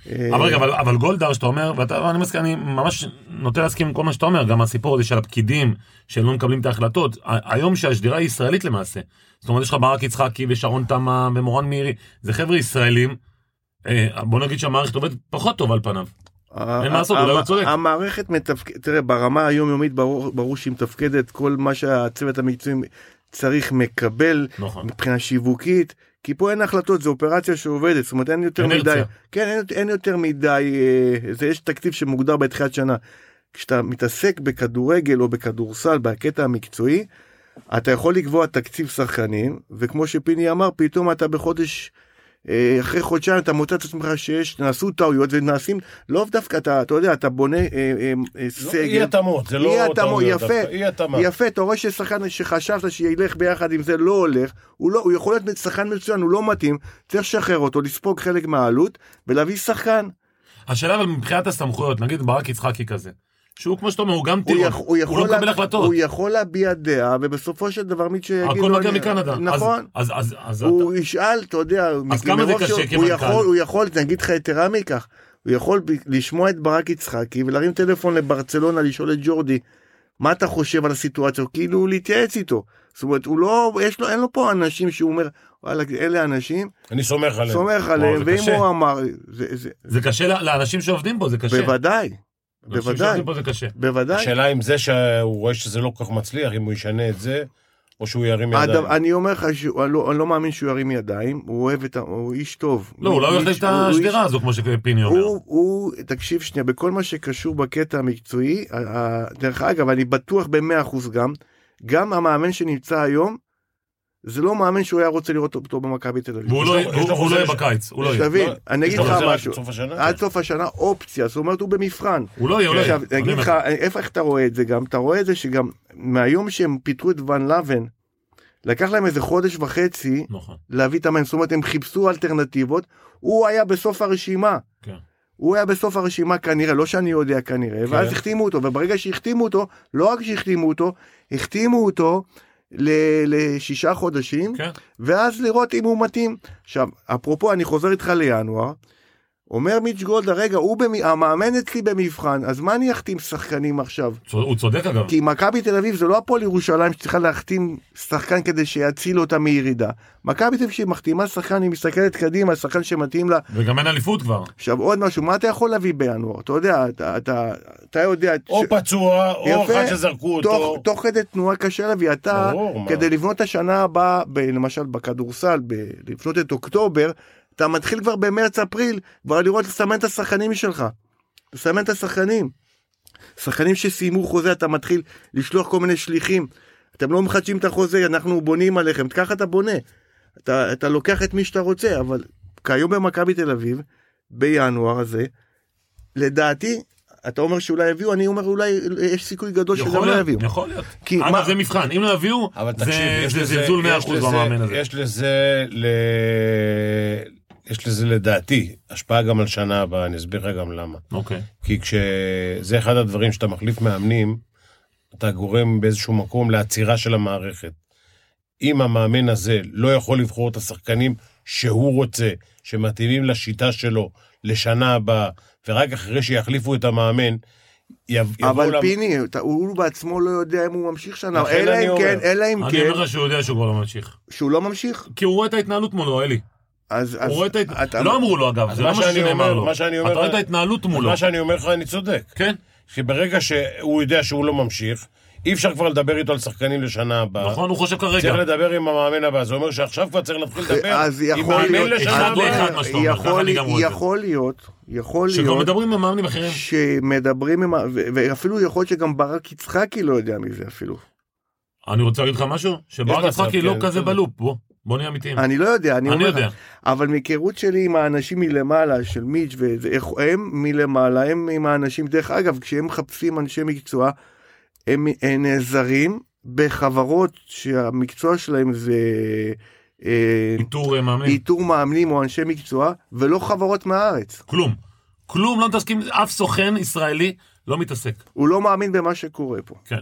C: אה,
A: אבל רגע, אבל, אבל גולדהר שאתה אומר, ואתה, אני מסכים, אני ממש נוטה להסכים עם כל מה שאתה אומר, גם הסיפור הזה של הפקידים, שהם לא מקבלים את ההחלטות, ה- היום שהשדרה היא ישראלית למעשה. זאת אומרת, יש לך ברק יצחקי ושרון תמה ומורן מאירי, זה חבר'ה ישראלים, אה, בוא נגיד שהמערכת עובדת פחות טוב על פניו. אין מה לעשות, אולי הוא לא
C: המ-
A: צודק.
C: המערכת מתפקדת, תראה, ברמה היומיומית ברור, ברור שהיא מתפקדת, כל מה שהצוות המקצועי צריך מקבל
A: נכון.
C: מבחינה שיווקית, כי פה אין החלטות, זו אופרציה שעובדת, זאת אומרת אין יותר
A: אינרציה.
C: מדי, כן, אין, אין יותר מדי, אה, זה יש תקציב שמוגדר בתחילת שנה. כשאתה מתעסק בכדורגל או בכדורסל בקטע המקצועי, אתה יכול לקבוע תקציב שחקנים, וכמו שפיני אמר, פתאום אתה בחודש אה, אחרי חודשיים אתה מוצא את עצמך שיש, נעשו טעויות ונעשים, לא דווקא אתה, אתה יודע, אתה בונה אה, אה, אה,
A: לא,
C: סגל.
B: אי התאמות, זה לא
C: אי התאמות,
B: טעויות
C: יפה,
B: דווקא, אי התאמה.
C: יפה, אתה רואה ששחקן שחשבת שילך ביחד עם זה לא הולך, הוא, לא, הוא יכול להיות שחקן מצוין, הוא לא מתאים, צריך לשחרר אותו, לספוג חלק מהעלות ולהביא שחקן.
A: השאלה אבל מבחינת הסמכויות, נגיד ברק יצחקי כזה, שהוא כמו שאתה אומר, הוא גם
C: הוא,
A: טירון,
C: יכ-
A: הוא לא
C: לה-
A: מקבל החלטות,
C: הוא יכול להביע דעה, ובסופו של דבר מי שיגיד...
A: הכל
C: לו,
A: מגיע
C: אני-
A: מקנדה.
C: נכון.
A: כאילו, אז, אז, אז, אז
C: הוא ישאל, אתה יודע,
A: לא, אז כמה זה
C: מרוב
A: קשה
C: שהוא- הוא
A: כמנכ"ל?
C: יכול, הוא יכול, אני אגיד לך יתרה מכך, הוא יכול ב- לשמוע את ברק יצחקי ולהרים טלפון לברצלונה לשאול את ג'ורדי, מה אתה חושב על הסיטואציה, כאילו להתייעץ איתו. זאת אומרת, הוא לא, יש לו, אין לו פה אנשים שהוא אומר, וואלה, אלה אנשים,
B: אני סומך עליהם.
C: סומך
A: זה
C: עליהם, ואם
A: קשה.
C: הוא אמר, זה, זה,
A: אתה, זה קשה ל- לאנשים שעובדים פה, זה קשה.
C: בוודאי,
A: לאנשים
C: בוודאי,
A: שעובדים פה זה קשה.
C: בוודאי.
B: השאלה אם זה שהוא רואה שזה לא כל כך מצליח, אם הוא ישנה את זה, או שהוא ירים ידיים.
C: אדם, אני אומר לך שהוא, אני לא, אני לא מאמין שהוא ירים ידיים, הוא אוהב את ה... הוא איש טוב.
A: לא, הוא לא
C: איש-
A: הולך את
C: הוא איש-
A: השדרה הזו, כמו שפיני אומר.
C: הוא, הוא, תקשיב שנייה, בכל מה שקשור בקטע המקצועי, ה- ה- דרך אגב, אני בטוח ב-100% גם, גם המאמן שנמצא היום, זה לא מאמן שהוא היה רוצה לראות אותו במכבי תל אביב.
A: והוא
B: יש
A: לא-
B: לו- יש לו
A: הוא- הוא לא
B: חוזה
A: יהיה
B: ש-
A: בקיץ, הוא לא יהיה.
C: שתבין,
B: לא,
C: אני
B: יש
C: אגיד
B: לו
C: לך
B: חוזה רק
C: משהו,
B: עד סוף השנה?
C: עד סוף השנה אופציה, זאת אומרת הוא במבחן.
A: הוא לא יהיה, הוא לא יהיה.
C: עכשיו, אני אגיד לך, איפה איך אתה רואה את זה גם? אתה רואה את זה שגם מהיום שהם פיטרו את ון לבן, לקח להם איזה חודש וחצי
A: נכון.
C: להביא את המים, זאת אומרת הם חיפשו אלטרנטיבות, הוא היה בסוף הרשימה.
A: כן.
C: הוא היה בסוף הרשימה כנראה, לא שאני יודע כנראה,
B: כן.
C: ואז החתימו אותו, וברגע שהחתימו אותו, לא רק שהחתימו אותו, החתימו אותו ל- לשישה חודשים,
A: כן.
C: ואז לראות אם הוא מתאים. עכשיו, אפרופו, אני חוזר איתך לינואר, אומר מיץ' גולדה, רגע, הוא במ... המאמן אצלי במבחן, אז מה אני אחתים שחקנים עכשיו?
A: צוד- הוא צודק אגב.
C: כי מכבי תל אביב זה לא הפועל ירושלים שצריכה להחתים שחקן כדי שיציל אותה מירידה. מכבי תל אביב שהיא מחתימה שחקן, היא מסתכלת קדימה, שחקן שמתאים לה.
A: וגם אין אליפות כבר.
C: עכשיו עוד משהו, מה אתה יכול להביא בינואר? אתה יודע, אתה, אתה, אתה יודע...
B: או
C: ש-
B: פצוע, או
C: יפה.
B: אחד שזרקו
C: תוך,
B: אותו.
C: תוך כדי תנועה קשה להביא אתה,
B: ברור, מה.
C: כדי לבנות את השנה הבאה, ב, למשל בכדורסל, ב, לבנות את אוקטובר, אתה מתחיל כבר במרץ-אפריל, כבר לראות, לסמן את השחקנים שלך. לסמן את השחקנים. שחקנים שסיימו חוזה, אתה מתחיל לשלוח כל מיני שליחים. אתם לא מחדשים את החוזה, אנחנו בונים עליכם, ככה אתה בונה. אתה, אתה לוקח את מי שאתה רוצה, אבל כיום במכבי תל אביב, בינואר הזה, לדעתי, אתה אומר שאולי יביאו, אני אומר אולי יש סיכוי גדול שגם
A: יכול
C: לא
A: להיות,
C: יביאו.
A: יכול להיות.
C: כי מה-
A: אגב, זה מבחן, אם לא יביאו,
B: אבל
A: זה-
B: תקשיב, יש
A: זה
B: לזה-
A: זלזול
B: יש
A: 100%
B: לזה-
A: במאמן הזה.
B: יש לזה, ל... יש לזה לדעתי השפעה גם על שנה הבאה, אני אסביר לך גם למה.
A: אוקיי.
B: כי כשזה אחד הדברים שאתה מחליף מאמנים, אתה גורם באיזשהו מקום לעצירה של המערכת. אם המאמן הזה לא יכול לבחור את השחקנים שהוא רוצה, שמתאימים לשיטה שלו, לשנה הבאה, ורק אחרי שיחליפו את המאמן, יב- יבואו...
C: אבל
B: למ-
C: פיני, אתה- הוא בעצמו לא יודע אם הוא ממשיך שנה,
B: לכן
C: אלא
B: אני
C: אם כן,
B: אומר.
C: אלא אם
A: אני
C: כן,
A: אומר לך שהוא יודע שהוא כבר לא ממשיך.
C: שהוא לא ממשיך.
A: כי הוא רואה את ההתנהלות מולו, אלי.
C: אז אז
A: הוא רואה את ההת-
C: אתה-
A: לא אמרו לו אגב,
B: אז
A: זה לא
B: מה
A: משהו
B: שאני
A: שנאמר
B: אומר-
A: לו.
B: מה שאני אומר-
A: אתה רואה את ההתנהלות
C: לא.
A: מולו.
B: מה שאני אומר לך, אני צודק.
A: כן,
B: כי ברגע שהוא יודע שהוא לא ממשיך, אי אפשר כבר לדבר איתו על שחקנים לשנה הבאה.
A: נכון, הוא חושב כרגע.
B: צריך לדבר עם המאמן הבא, זה אומר שעכשיו כבר צריך להתחיל לדבר
C: אז
B: עם
C: יכול
B: מאמן
C: להיות,
B: לשנה
A: אחד
C: אבל
B: הבאה.
A: לאחד. מה שאתה אומר,
C: יכול-
A: ככה אני גם רואה את זה.
C: יכול להיות, יכול
A: שכבר
C: להיות,
A: מדברים עם מאמנים אחרים.
C: שמדברים עם, ה- ו- ואפילו יכול להיות שגם ברק יצחקי לא יודע מזה אפילו.
A: אני רוצה להגיד לך משהו, שברק
B: מצב,
A: יצחקי לא
B: כן,
A: כזה
B: בסדר.
A: בלופ, בוא, בוא נהיה אמיתיים.
C: אני לא יודע, אני
A: כן. אני
C: אומר לך.
A: יודע.
C: אבל מהיכרות שלי עם האנשים מלמעלה של מיץ' וזה, איך- הם מלמעלה, הם עם האנשים, דרך אגב, כשהם מחפשים אנשי מקצוע, הם הם נעזרים בחברות שהמקצוע שלהם זה אה,
A: איתור אה, מאמנים,
C: איתור מאמנים או אנשי מקצוע, ולא חברות מהארץ.
A: כלום. כלום, לא מתעסקים, אף סוכן ישראלי לא מתעסק.
C: הוא לא מאמין במה שקורה פה.
A: כן.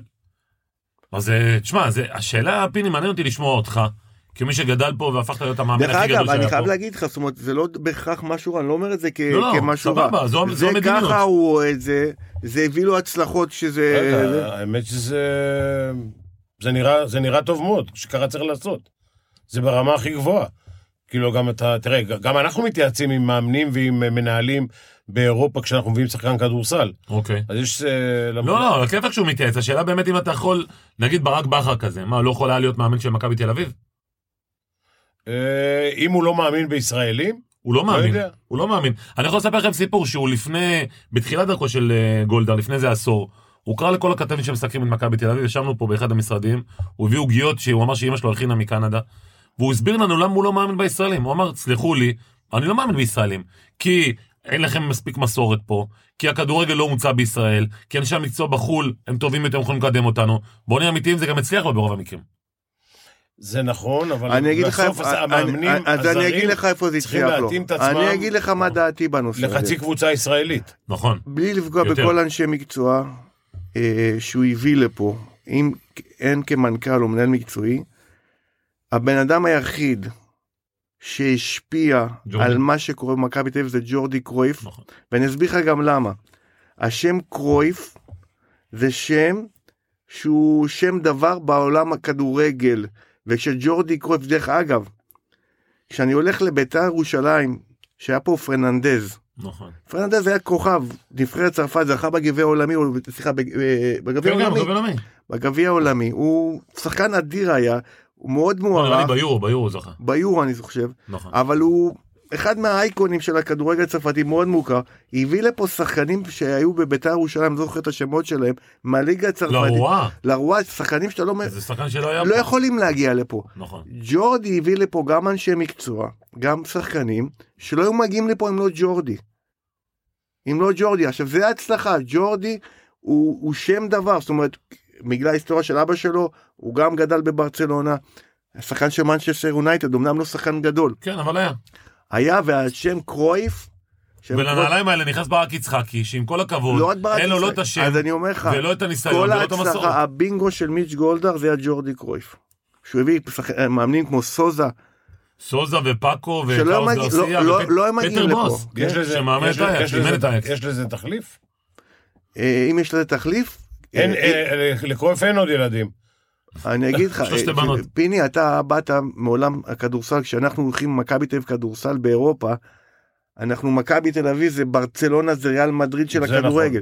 A: אז אה, תשמע, זה- השאלה, פיני, מעניין אותי לשמוע אותך, כמי שגדל פה והפכת להיות המאמן
C: דרך
A: הכי
C: אגב,
A: גדול
C: אני
A: שהיה
C: חייב
A: פה.
C: להגיד לך, זאת אומרת, זה לא בהכרח משהו רע, אני לא אומר את זה כ-
A: לא, לא,
C: כמשהו רע.
A: סבבה, זו- זו
C: זה
A: המדיניות.
C: ככה הוא רואה את זה, זה הביא לו הצלחות שזה...
B: רגע, האמת שזה... זה נראה, זה נראה טוב מאוד, שככה צריך לעשות. זה ברמה הכי גבוהה. כאילו גם אתה, תראה, גם אנחנו מתייעצים עם מאמנים ועם אה, מנהלים באירופה כשאנחנו מביאים שחקן כדורסל.
A: אוקיי.
B: אז יש... אה, למ-
A: לא, לא, הכיפאק שהוא מתייעץ, השאלה באמת אם אתה יכול, נגיד ברק בכר כזה, מה, לא יכול היה להיות מאמן של מכבי תל אביב?
B: אה, אם הוא לא מאמין בישראלים,
A: הוא לא מאמין,
B: יודע.
A: הוא לא מאמין. אני יכול לספר לכם סיפור שהוא לפני, בתחילת דרכו של אה, גולדהר, לפני איזה עשור, הוא קרא לכל הכתבים שמסקרים את מכבי תל אביב, ישבנו פה באחד המשרדים, הוא הביא עוגיות שהוא אמר שאימא שלו הכינה מקנדה, והוא הסביר לנו למה הוא לא מאמין בישראלים. הוא אמר, סלחו לי, אני לא מאמין בישראלים, כי אין לכם מספיק מסורת פה, כי הכדורגל לא מוצא בישראל, כי אנשי המקצוע בחו"ל הם טובים יותר, הם יכולים לקדם אותנו. בואו נהיה אמיתיים, זה גם הצליח לו ברוב המקרים.
B: זה נכון, אבל
C: אני אגיד לך
B: בסוף
C: איפה-
B: אז
C: אני-
B: המאמנים
C: אני- אז אני אגיד
B: הזרים
C: לך איפה זה
B: צריכים
C: הצליח לו.
B: להתאים את עצמם נכון.
C: אני אגיד לך מה דעתי בנושא הזה.
B: לחצי קבוצה ישראלית.
A: נכון.
C: בלי לפגוע
A: יותר.
C: בכל אנשי מקצוע אה, שהוא הביא לפה, אם הן כמנכ"ל או מנהל מקצועי, הבן אדם היחיד שהשפיע
A: ג'ורדי.
C: על מה שקורה במכבי תל אביב זה ג'ורדי קרויף,
A: נכון.
C: ואני אסביר לך גם למה. השם קרויף זה שם שהוא שם דבר בעולם הכדורגל, וכשג'ורדי קרויף, דרך אגב, כשאני הולך לביתר ירושלים, שהיה פה פרננדז,
A: נכון.
C: פרננדז היה כוכב, נבחרת צרפת זכה בגביע העולמי, או סליחה, בג- אה, בגביע
A: כן, גם,
C: העולמי,
A: גם בינלאומי.
C: בגביע העולמי, הוא שחקן אדיר היה, הוא מאוד
A: לא, נראה לי
C: מוערך,
A: ביורו, ביורו הוא זכה.
C: ביורו אני חושב,
A: נכון.
C: אבל הוא אחד מהאייקונים של הכדורגל הצרפתי, מאוד מוכר, הביא לפה שחקנים שהיו בביתר ירושלים, אני לא זוכר את השמות שלהם, מהליגה
A: לא,
C: הצרפתית,
A: הוא רע.
C: לרוע, שחקנים שאתה לא, מ-
A: זה שחקן שלא היה
C: לא
A: פה.
C: יכולים להגיע לפה.
A: נכון.
C: ג'ורדי הביא לפה גם אנשי מקצוע, גם שחקנים, שלא היו מגיעים לפה אם לא ג'ורדי. אם לא ג'ורדי. עכשיו זה ההצלחה, ג'ורדי הוא, הוא שם דבר, זאת אומרת, בגלל ההיסטוריה של אבא שלו, הוא גם גדל בברצלונה. השחקן של מנצ'סטר יונייטד, אמנם לא שחקן גדול.
A: כן, אבל היה.
C: היה והשם קרויף, שם קרויף-
A: ולנעליים האלה נכנס ברק יצחקי, שעם כל הכבוד,
C: כן, לא רק ברק
A: אין לו לא
C: יצחק.
A: את השם,
C: אז אני אומר לך,
A: ולא את הניסיון,
C: כל
A: ולא את המסורת.
C: ההצלחה, הבינגו של מיץ' גולדהר זה היה ג'ורדי קרויף. שהוא הביא שחק- מאמנים כמו סוזה,
A: סוזה ופאקו
C: שלא
A: וקאוס
C: מגיע-
A: גרסיה,
C: לא- לא-
A: ופט-
C: לא הם מגיעים
A: פטר
C: לפה.
A: בוס.
C: כן.
B: יש לזה-
A: שמאמן
B: יש-
A: את האייק,
B: יש
A: אימן
B: לזה-
A: את האייק.
B: יש לזה תחליף?
C: אה, אם יש לזה תחליף,
B: אין,
C: אה,
B: אה, לקרויף אין עוד ילדים.
C: אני אגיד לך,
A: שלושת
C: אה,
A: בנות.
C: פיני אתה באת מעולם הכדורסל, כשאנחנו הולכים עם מכבי תל אביב כדורסל באירופה, אנחנו מכבי תל אביב זה ברצלונה זה ריאל מדריד של
B: זה
C: הכדורגל.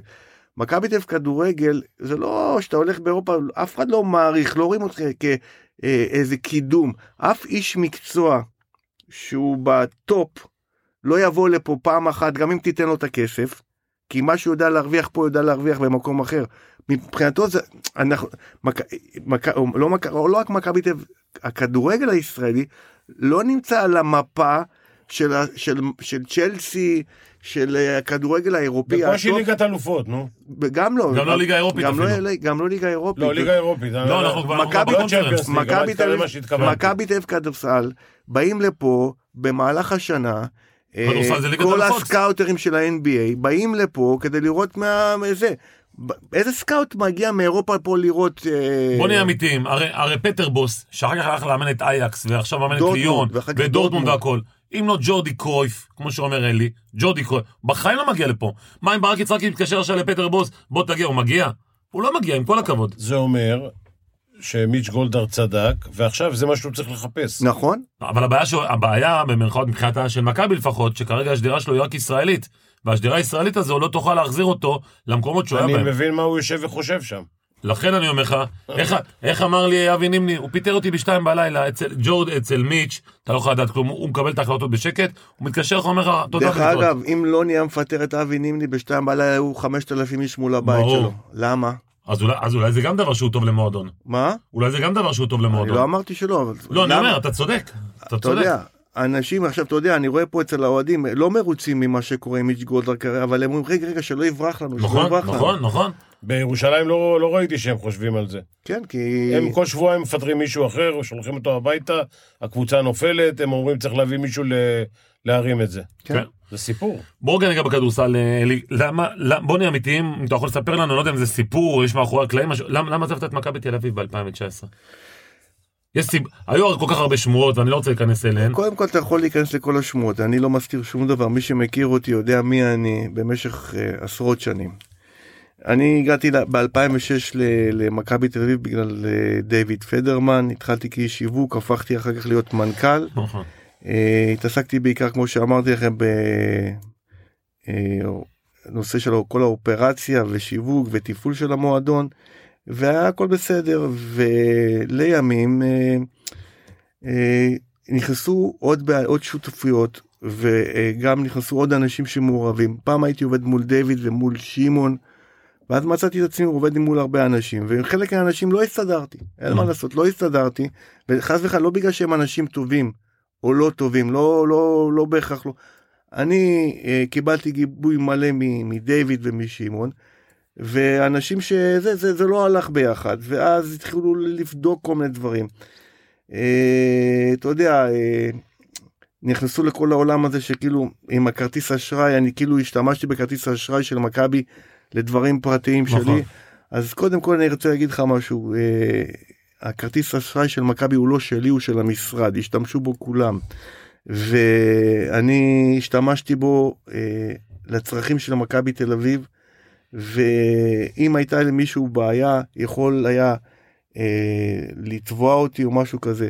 C: מכבי תל אביב כדורגל זה לא שאתה הולך באירופה אף אחד לא מעריך לא רואים אותך כאיזה קידום אף איש מקצוע שהוא בטופ לא יבוא לפה פעם אחת גם אם תיתן לו את הכסף כי מה שהוא יודע להרוויח פה יודע להרוויח במקום אחר מבחינתו זה אנחנו מק, מק, לא, מק, לא רק מכבי תל אביב הכדורגל הישראלי לא נמצא על המפה של, ה- של, של צ'לסי של אה, הכדורגל האירופי
B: בקושי
C: הטופ.
B: ליגת אלופות, נו.
C: גם לא.
A: גם לא ליגה אירופית
C: גם לא-
A: אפילו.
C: גם לא ליגה אירופית.
B: לא, ליגה אירופית. אני-
A: לא, אנחנו כבר אנחנו כבר
C: מכבי-
A: בקונפרנס.
B: ליגה, אבל
C: מכבי
B: זה
C: תל
B: מה שהתכוונתי.
C: מכבי תל אביב כדורסל באים לפה במהלך השנה. אה,
A: כדורסל זה ליגת
C: כל
A: אלופות.
C: הסקאוטרים של ה-NBA באים לפה כדי לראות מה זה. ב- איזה סקאוט מגיע מאירופה פה לראות אה,
A: בוא נהיה אמיתיים, הרי, הרי פטר בוס, שאחר כך הלך לאמן את אייקס, ועכשיו מאמן את
C: דורטמונד,
A: ליון,
C: ואחר כך
A: ודורטמונד
C: דורטמונד.
A: והכל, אם לא ג'ורדי קרויף, כמו שאומר אלי, ג'ורדי קרויף, בחיים לא מגיע לפה. מה אם ברק יצחקי מתקשר עכשיו לפטר בוס, בוא תגיע, הוא מגיע? הוא לא מגיע, עם כל הכבוד.
B: זה אומר שמיץ' גולדהר צדק, ועכשיו זה מה שהוא צריך לחפש.
C: נכון
A: אבל הבעיה, ש... הבעיה במרכאות מבחינת ה- של מכבי לפחות, שכרגע השדרה שלו היא רק ישראלית, והשדרה הישראלית הזו לא תוכל להחזיר אותו למקומות שהוא היה
B: אני
A: בהם.
B: מבין מה הוא יושב וחושב שם.
A: לכן אני אומר לך, איך, איך אמר לי אבי נימני, הוא פיטר אותי בשתיים בלילה, אצל ג'ורד, אצל מיץ', אתה לא יכול לדעת כלום, הוא מקבל את ההחלטות בשקט, הוא מתקשר לך, אומר לך, תודה
C: דרך
A: ולהתראות."
C: אגב אם לא נהיה מפטר את אבי נימני בשתיים בלילה היו 5,000 איש מול הבית
A: ברור.
C: שלו למה
A: אז אולי, אז אולי זה גם דבר שהוא טוב למועדון.
C: מה
A: אולי זה גם דבר שהוא טוב
C: אני לא
A: למועדון.
C: אמרתי שלא אבל
A: לא, אני
C: למה?
A: אומר, אתה צודק. אתה
C: אתה
A: צודק.
C: יודע, אנשים עכשיו, אתה יודע, אני רואה פה אצל האוהדים, לא מרוצים ממה שקורה עם מיץ' גולדהר כרגע, אבל הם אומרים, רגע, רגע, שלא יברח לנו, שלא
A: נכון,
C: יברח לנו.
A: נכון, נכון.
B: בירושלים לא, לא ראיתי שהם חושבים על זה.
C: כן, כי...
B: הם כל שבועיים מפטרים מישהו אחר, שולחים אותו הביתה, הקבוצה נופלת, הם אומרים צריך להביא מישהו ל... להרים את זה.
C: כן.
B: זה סיפור.
A: בואו רגע ניגע בכדורסל, אה, אלי. למה, למה- בוא נהיה אמיתיים, אם אתה יכול לספר לנו, אני לא יודע אם זה סיפור, או יש מאחורי הקלעים, משהו- למה למה עזבת את מכבי תל אביב ב-2019? יש סיב... היו הרי כל כך הרבה שמועות, ואני לא רוצה להיכנס אליהן.
C: קודם כל אתה יכול להיכנס לכל השמועות, אני לא מזכיר שום דבר, מי שמכיר אותי יודע מי אני במשך אה, עשרות שנים. אני הגעתי ב-2006 למכבי תל אביב בגלל אה, דיוויד פדרמן, התחלתי כאיש שיווק, הפכתי אחר כך להיות מנכ"ל.
A: נכון.
C: אה, התעסקתי בעיקר כמו שאמרתי לכם בנושא של כל האופרציה ושיווק ותפעול של המועדון והיה הכל בסדר ולימים אה, אה, נכנסו עוד, בע- עוד שותפויות וגם נכנסו עוד אנשים שמעורבים פעם הייתי עובד מול דיוויד ומול שמעון. ואז מצאתי את עצמי עובד מול הרבה אנשים ועם חלק מהאנשים לא הסתדרתי אין מה לעשות לא הסתדרתי וחס וחלילה לא בגלל שהם אנשים טובים או לא טובים, לא, לא, לא בהכרח לא. אני אה, קיבלתי גיבוי מלא מ- מדיוויד ומשמעון, ואנשים שזה, זה, זה לא הלך ביחד, ואז התחילו לבדוק כל מיני דברים. אה, אתה יודע, אה, נכנסו לכל העולם הזה שכאילו עם הכרטיס אשראי, אני כאילו השתמשתי בכרטיס האשראי של מכבי לדברים פרטיים
A: נכון.
C: שלי. אז קודם כל אני רוצה להגיד לך משהו, אה, הכרטיס אשראי של מכבי הוא לא שלי, הוא של המשרד, השתמשו בו כולם. ואני השתמשתי בו אה, לצרכים של מכבי תל אביב, ואם הייתה למישהו בעיה, יכול היה אה, לתבוע אותי או משהו כזה.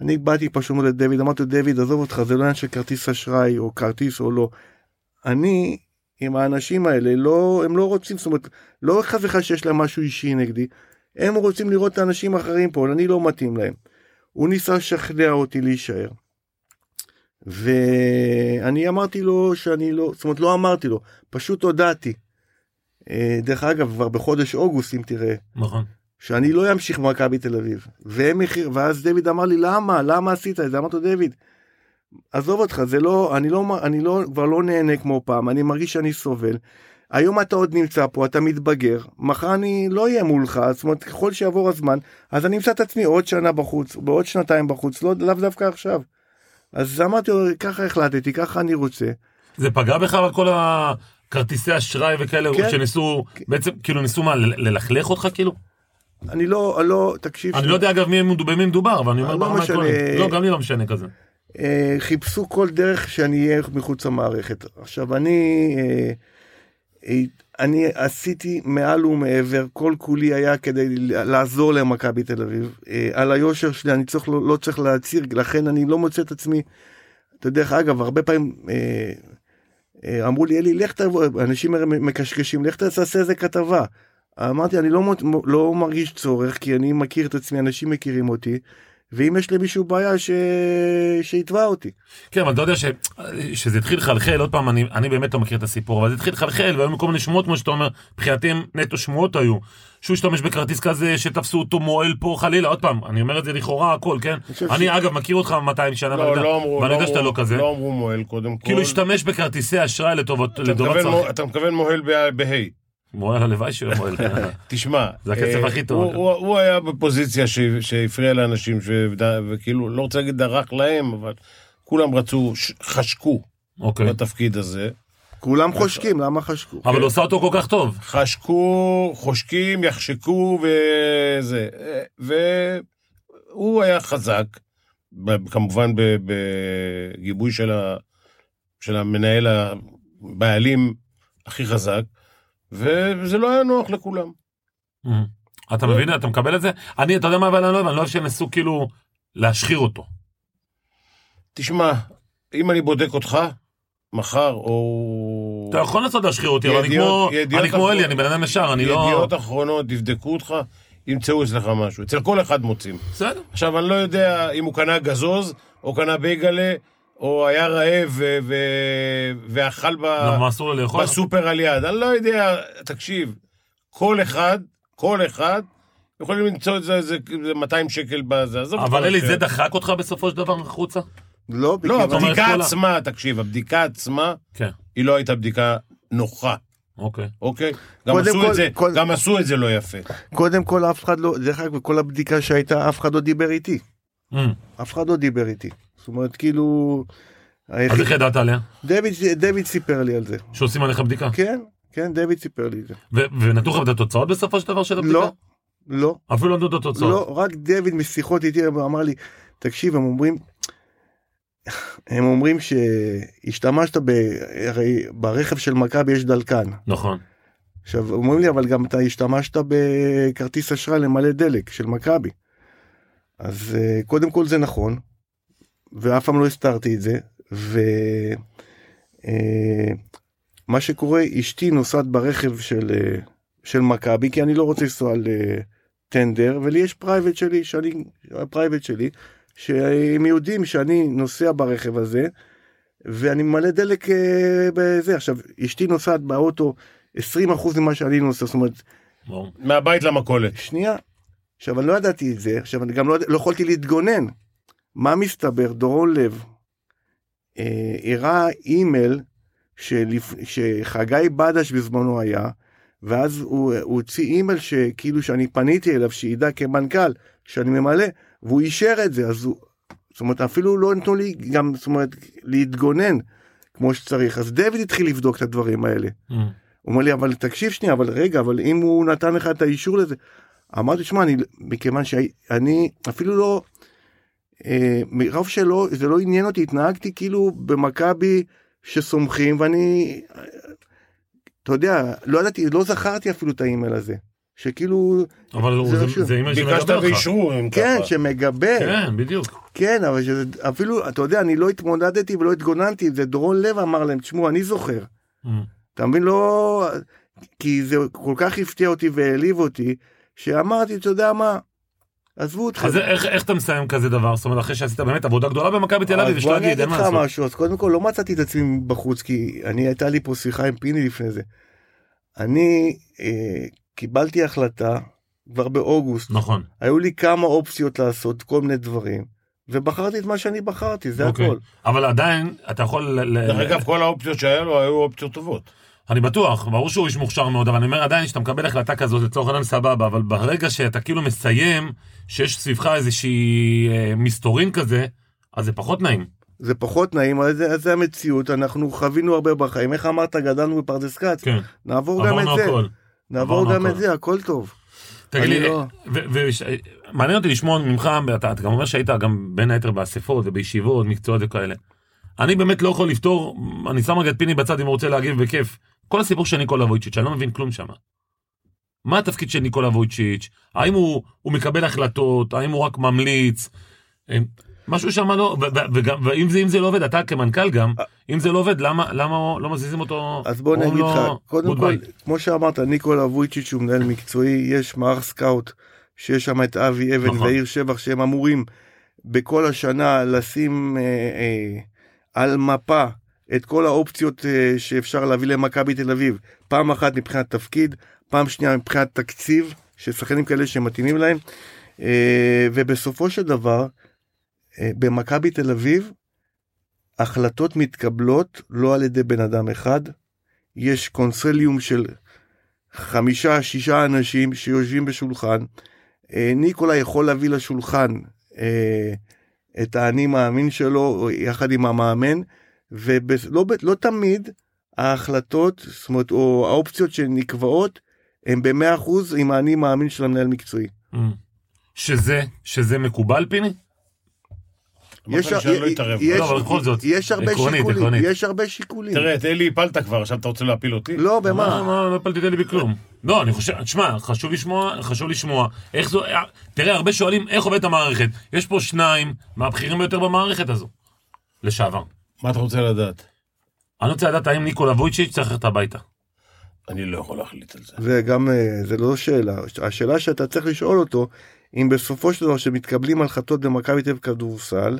C: אני באתי פשוט מול דויד, אמרתי לו, דויד, עזוב אותך, זה לא עניין של כרטיס אשראי או כרטיס או לא. אני עם האנשים האלה, לא, הם לא רוצים, זאת אומרת, לא חס וחלילה שיש להם משהו אישי נגדי, הם רוצים לראות את האנשים האחרים פה, אני לא מתאים להם. הוא ניסה לשכנע אותי להישאר. ואני אמרתי לו שאני לא, זאת אומרת לא אמרתי לו, פשוט הודעתי. אה, דרך אגב, כבר בחודש אוגוסט אם תראה,
A: נכון.
C: שאני לא אמשיך במכבי תל אביב. והם הכיר, ואז דוד אמר לי למה, למה עשית את זה? אמרתי לו דוד, עזוב אותך, זה לא, אני לא, אני לא, כבר לא נהנה כמו פעם, אני מרגיש שאני סובל. היום אתה עוד נמצא פה, אתה מתבגר, מחר אני לא אהיה מולך, זאת אומרת ככל שיעבור הזמן, אז אני אמצא את עצמי עוד שנה בחוץ, בעוד שנתיים בחוץ, לא, לאו דווקא עכשיו. אז אמרתי לו, ככה החלטתי, ככה אני רוצה.
A: זה פגע בך על כל הכרטיסי אשראי וכאלה
C: כן.
A: שניסו, בעצם כאילו ניסו מה, ל- ללכלך אותך כאילו?
C: אני לא, לא, תקשיב,
A: אני
C: שנייה.
A: לא יודע אגב מי הם- במי מדובר, אבל אני אומר
C: לא
A: ברמה
C: משנה.
A: העקרונית. לא, גם לי לא משנה כזה.
C: אה, חיפשו כל דרך שאני אהיה מחוץ למערכת. עכשיו אני, אה, אה, אני עשיתי מעל ומעבר, כל כולי היה כדי לעזור למכבי תל אביב. אה, על היושר שלי אני צריך, לא, לא צריך להצהיר, לכן אני לא מוצא את עצמי. אתה יודע, דרך אגב, הרבה פעמים אה, אה, אמרו לי, אלי, לך תבוא, אנשים הרי מקשקשים, לך תעשה איזה כתבה. אמרתי, אני לא, מות- לא מרגיש צורך, כי אני מכיר את עצמי, אנשים מכירים אותי. ואם יש למישהו בעיה ש... שיתבע אותי.
A: כן, אבל אתה יודע ש... שזה התחיל לחלחל, עוד פעם, אני, אני באמת לא מכיר את הסיפור, אבל זה התחיל לחלחל, והיו כל מיני שמועות, כמו שאתה אומר, מבחינתי הם נטו שמועות היו. שהוא השתמש בכרטיס כזה, שתפסו אותו מועל פה חלילה, עוד פעם, אני אומר את זה לכאורה, הכל, כן?
C: חושב
A: אני
C: ש-
A: אגב מכיר אותך 200 שנה, ואני
B: לא,
A: יודע-
B: לא אמרו,
A: ואני יודע שאתה לא
B: אמרו-
A: כזה.
B: לא אמרו מוהל קודם כל.
A: כאילו השתמש בכרטיסי אשראי לטובת
B: אתה
A: לדורות
B: מכוון מו-
A: צרכי.
B: אתה מכוון מוהל ב- בה'.
A: מועל, הלוואי שהוא יהיה מועל. כן.
B: תשמע,
A: זה הקצב
B: אה,
A: הכי טוב,
B: הוא-
A: אגב.
B: הוא הוא היה בפוזיציה ש- שהפריע לאנשים, ש- וכאילו, לא רוצה להגיד דרך להם, אבל כולם רצו, ש- חשקו
A: אוקיי.
B: בתפקיד הזה.
C: כולם חושקים, למה חשקו?
A: אבל הוא עושה אותו כל כך טוב.
B: חשקו, חושקים, יחשקו וזה. אה, והוא היה חזק, ב- כמובן ב- בגיבוי של, ה... של המנהל, הבעלים הכי חזק, וזה לא היה נוח לכולם. כן.
A: Mhm. אתה מבין? אתה מקבל את זה? אני, אתה יודע מה, אבל אני לא אוהב, אני לא אוהב שהם ניסו כאילו להשחיר אותו.
B: תשמע, אם אני בודק אותך, מחר או...
A: אתה יכול לנסות להשחיר אותי, אבל אני
B: ידיעות-
A: כמו-
B: ידיעות
A: אני כמו
B: אחרונות.
A: אלי, אני בן אדם ישר, אני לא...
B: ידיעות אחרונות, יבדקו אותך, ימצאו אצלך משהו. אצל כל אחד מוצאים.
A: בסדר.
B: עכשיו, אני לא יודע אם הוא קנה גזוז, או קנה בייגלה, או היה רעב ו- ו- ואכל ב-
C: אה,
A: למה אסור לו לאכול?
B: בסופר על יד. אני לא יודע, תקשיב, כל אחד, כל אחד, יכולים למצוא את זה, איזה איזה 200 שקל בזה. עזוב
A: אבל
B: אותך
A: אלי,
B: לשם.
C: כן.
A: זה דחק אותך בסופו של דבר החוצה?
C: לא,
B: לא,
A: אומרת,
C: מכיוון-
B: הבדיקה
A: כל ה-
B: עצמה, תקשיב, הבדיקה עצמה,
A: כן,
B: היא לא הייתה בדיקה נוחה,
A: אוקיי.
B: אוקיי? גם
C: קודם
B: עשו
C: כל-
B: את זה,
C: כל-
B: גם עשו את זה לא יפה.
C: קודם כל אף אחד לא, דרך אגב, כל הבדיקה שהייתה, אף אחד לא דיבר איתי.
A: Mhm.
C: אף אחד לא דיבר איתי. זאת אומרת, כאילו...
A: אז אוקיי. איך ידעת עליה?
C: דויד, דויד סיפר לי על זה.
A: שעושים עליך בדיקה?
C: כן, כן, דויד סיפר לי את זה.
A: ו- ונתנו לך את התוצאות בסופו של דבר של הבדיקה?
C: לא, לא,
A: אפילו לא נתנו את התוצאות.
C: לא, רק דויד משיחות איתי אמר לי, תקשיב, הם אומרים, הם אומרים שהשתמשת ב... הרי ברכב של מכבי יש דלקן.
A: נכון.
C: עכשיו אומרים לי אבל גם אתה השתמשת בכרטיס אשראי למלא דלק של מכבי. אז אה, קודם כל זה נכון ואף פעם לא הסתרתי את זה ומה שקורה אשתי נוסעת ברכב של אה, של מכבי כי אני לא רוצה לנסוע על אה, טנדר ולי יש פרייבט שלי שאני הפרייבט שלי שהם יודעים שאני נוסע ברכב הזה ואני מלא דלק אה, בזה עכשיו אשתי נוסעת באוטו 20% ממה שאני נוסע, זאת אומרת,
A: ברור.
B: מהבית למכולת.
C: שנייה. עכשיו, אני לא ידעתי את זה, עכשיו, אני גם לא, יד- לא יכולתי להתגונן. מה מסתבר? דורון לב, אה, הראה אימייל שלפ... שחגי בדש בזמנו היה, ואז הוא, הוא הוציא אימייל שכאילו שאני פניתי אליו, שידע כמנכ"ל שאני ממלא, והוא אישר את זה, אז הוא, זאת אומרת אפילו לא נתנו לי גם, זאת אומרת, להתגונן כמו שצריך, אז דוד התחיל לבדוק את הדברים האלה.
A: Mm.
C: הוא אומר לי אבל תקשיב שנייה אבל רגע אבל אם הוא נתן לך את האישור לזה. אמרתי שמע אני מכיוון שאני אפילו לא. אה, מרוב שלא זה לא עניין אותי התנהגתי כאילו במכבי שסומכים ואני. אה, אתה יודע לא ידעתי לא זכרתי אפילו את האימייל הזה שכאילו
A: אבל הוא-
C: זה לא
A: זה-
C: רשום.
A: זה אימייל
B: ביקשת
A: שמדבר לך.
B: ואישרו אם
C: כן
B: ככה.
C: שמגבה
A: כן, בדיוק.
C: כן אבל שזה, אפילו אתה יודע אני לא התמודדתי ולא התגוננתי זה דורון לב אמר להם תשמעו אני זוכר
A: אה.
C: אתה מבין לא כי זה כל כך הפתיע אותי והעליב אותי שאמרתי אתה יודע מה עזבו אותך.
A: אז איך- איך אתה מסיים כזה דבר? זאת אומרת, אחרי שעשית באמת עבודה גדולה במכבי תל אביב, יש להגיד, אין מה לעשות.
C: משהו אז קודם כל לא מצאתי את עצמי בחוץ כי אני הייתה לי פה שיחה עם פיני לפני זה. אני אה, קיבלתי החלטה כבר באוגוסט
A: נכון.
C: היו לי כמה אופציות לעשות כל מיני דברים ובחרתי את מה שאני בחרתי זה
A: אוקיי.
C: הכל.
A: אבל עדיין, אתה יכול... ל- ל-
B: דרך אגב, כל האופציות שהיה לו היו אופציות טובות.
A: אני בטוח, ברור שהוא איש מוכשר מאוד, אבל אני אומר עדיין, כשאתה מקבל החלטה כזאת, לצורך העניין סבבה, אבל ברגע שאתה כאילו מסיים, שיש סביבך איזושהי אה, מסתורין כזה, אז זה פחות נעים.
C: זה פחות נעים אבל זה, זה המציאות אנחנו חווינו הרבה בחיים איך אמרת גדלנו בפרדס כץ
A: כן,
C: נעבור גם את
A: עברנו
C: זה
A: הכל.
C: נעבור
A: עברנו
C: גם את
A: הכל.
C: זה הכל טוב.
A: תגיד
C: אני
A: לי,
C: לא.
A: ומעניין אותי לשמוע ממך, אתה, אתה גם אומר שהיית גם בין היתר באספות ובישיבות, מקצועות וכאלה. אני באמת לא יכול לפתור, אני שם רגע את פיני בצד אם הוא רוצה להגיב בכיף. כל הסיפור של ניקולה וויצ'יץ', אני לא מבין כלום שם. מה התפקיד של ניקולה וויצ'יץ'? האם הוא, הוא מקבל החלטות? האם הוא רק ממליץ? אה, משהו שם לא, ו- ו- וגם- ואם זה, אם זה לא עובד, אתה כמנכ"ל גם, אם זה לא עובד, למה, למה לא מזיזים אותו?
C: אה. אז בוא
A: אומרים
C: נגיד לך,
A: לו,
C: קודם כל,
A: "Goodbye".
C: כמו שאמרת, ניקולה וויצ'יץ' הוא מנהל מקצועי, יש מערך סקאוט, שיש שם את אבי אבן
A: נכון.
C: ויאיר שבח, שהם אמורים בכל השנה לשים אה, אה, על מפה את כל האופציות אה, שאפשר להביא למכבי תל אביב, פעם אחת מבחינת תפקיד, פעם שנייה מבחינת תקציב, ששחקנים כאלה שמתאימים להם, אה, ובסופו של דבר, אה, במכבי תל אביב, החלטות מתקבלות לא על ידי בן אדם אחד, יש קונסליום של חמישה שישה אנשים שיושבים בשולחן. אה, ניקולה יכול להביא לשולחן אה, את האני מאמין שלו יחד עם המאמן ולא לא תמיד ההחלטות זאת אומרת או האופציות שנקבעות הם במאה אחוז עם האני מאמין של המנהל מקצועי.
A: אמ. שזה, שזה מקובל פיני?
B: אמרת לי שאני לא
C: י-
B: אתערב.
C: יש-
A: לא, אבל בכל זאת,
C: יש הרבה
A: עקרונית,
C: שיקולים,
A: עקרונית.
C: יש הרבה שיקולים.
B: תראה, את אלי הפלת כבר, עכשיו אתה רוצה להפיל אותי?
C: לא
A: מה,
C: במה?
A: מה, לא פלטת לי בכלום. לא, אני חושב, תשמע, חשוב לשמוע, חשוב לשמוע. איך זו, אה, תראה, הרבה שואלים איך עובדת המערכת. יש פה שניים מהבכירים ביותר במערכת הזו, לשעבר.
B: מה אתה רוצה לדעת?
A: אני רוצה לדעת האם ניקולה וויצ'יץ' צריך ללכת הביתה.
B: אני לא יכול להחליט על זה.
C: זה גם אה, זה לא שאלה השאלה שאתה צריך לשאול אותו אם בסופו של דבר שמתקבלים החלטות במכבי תל אביב כדורסל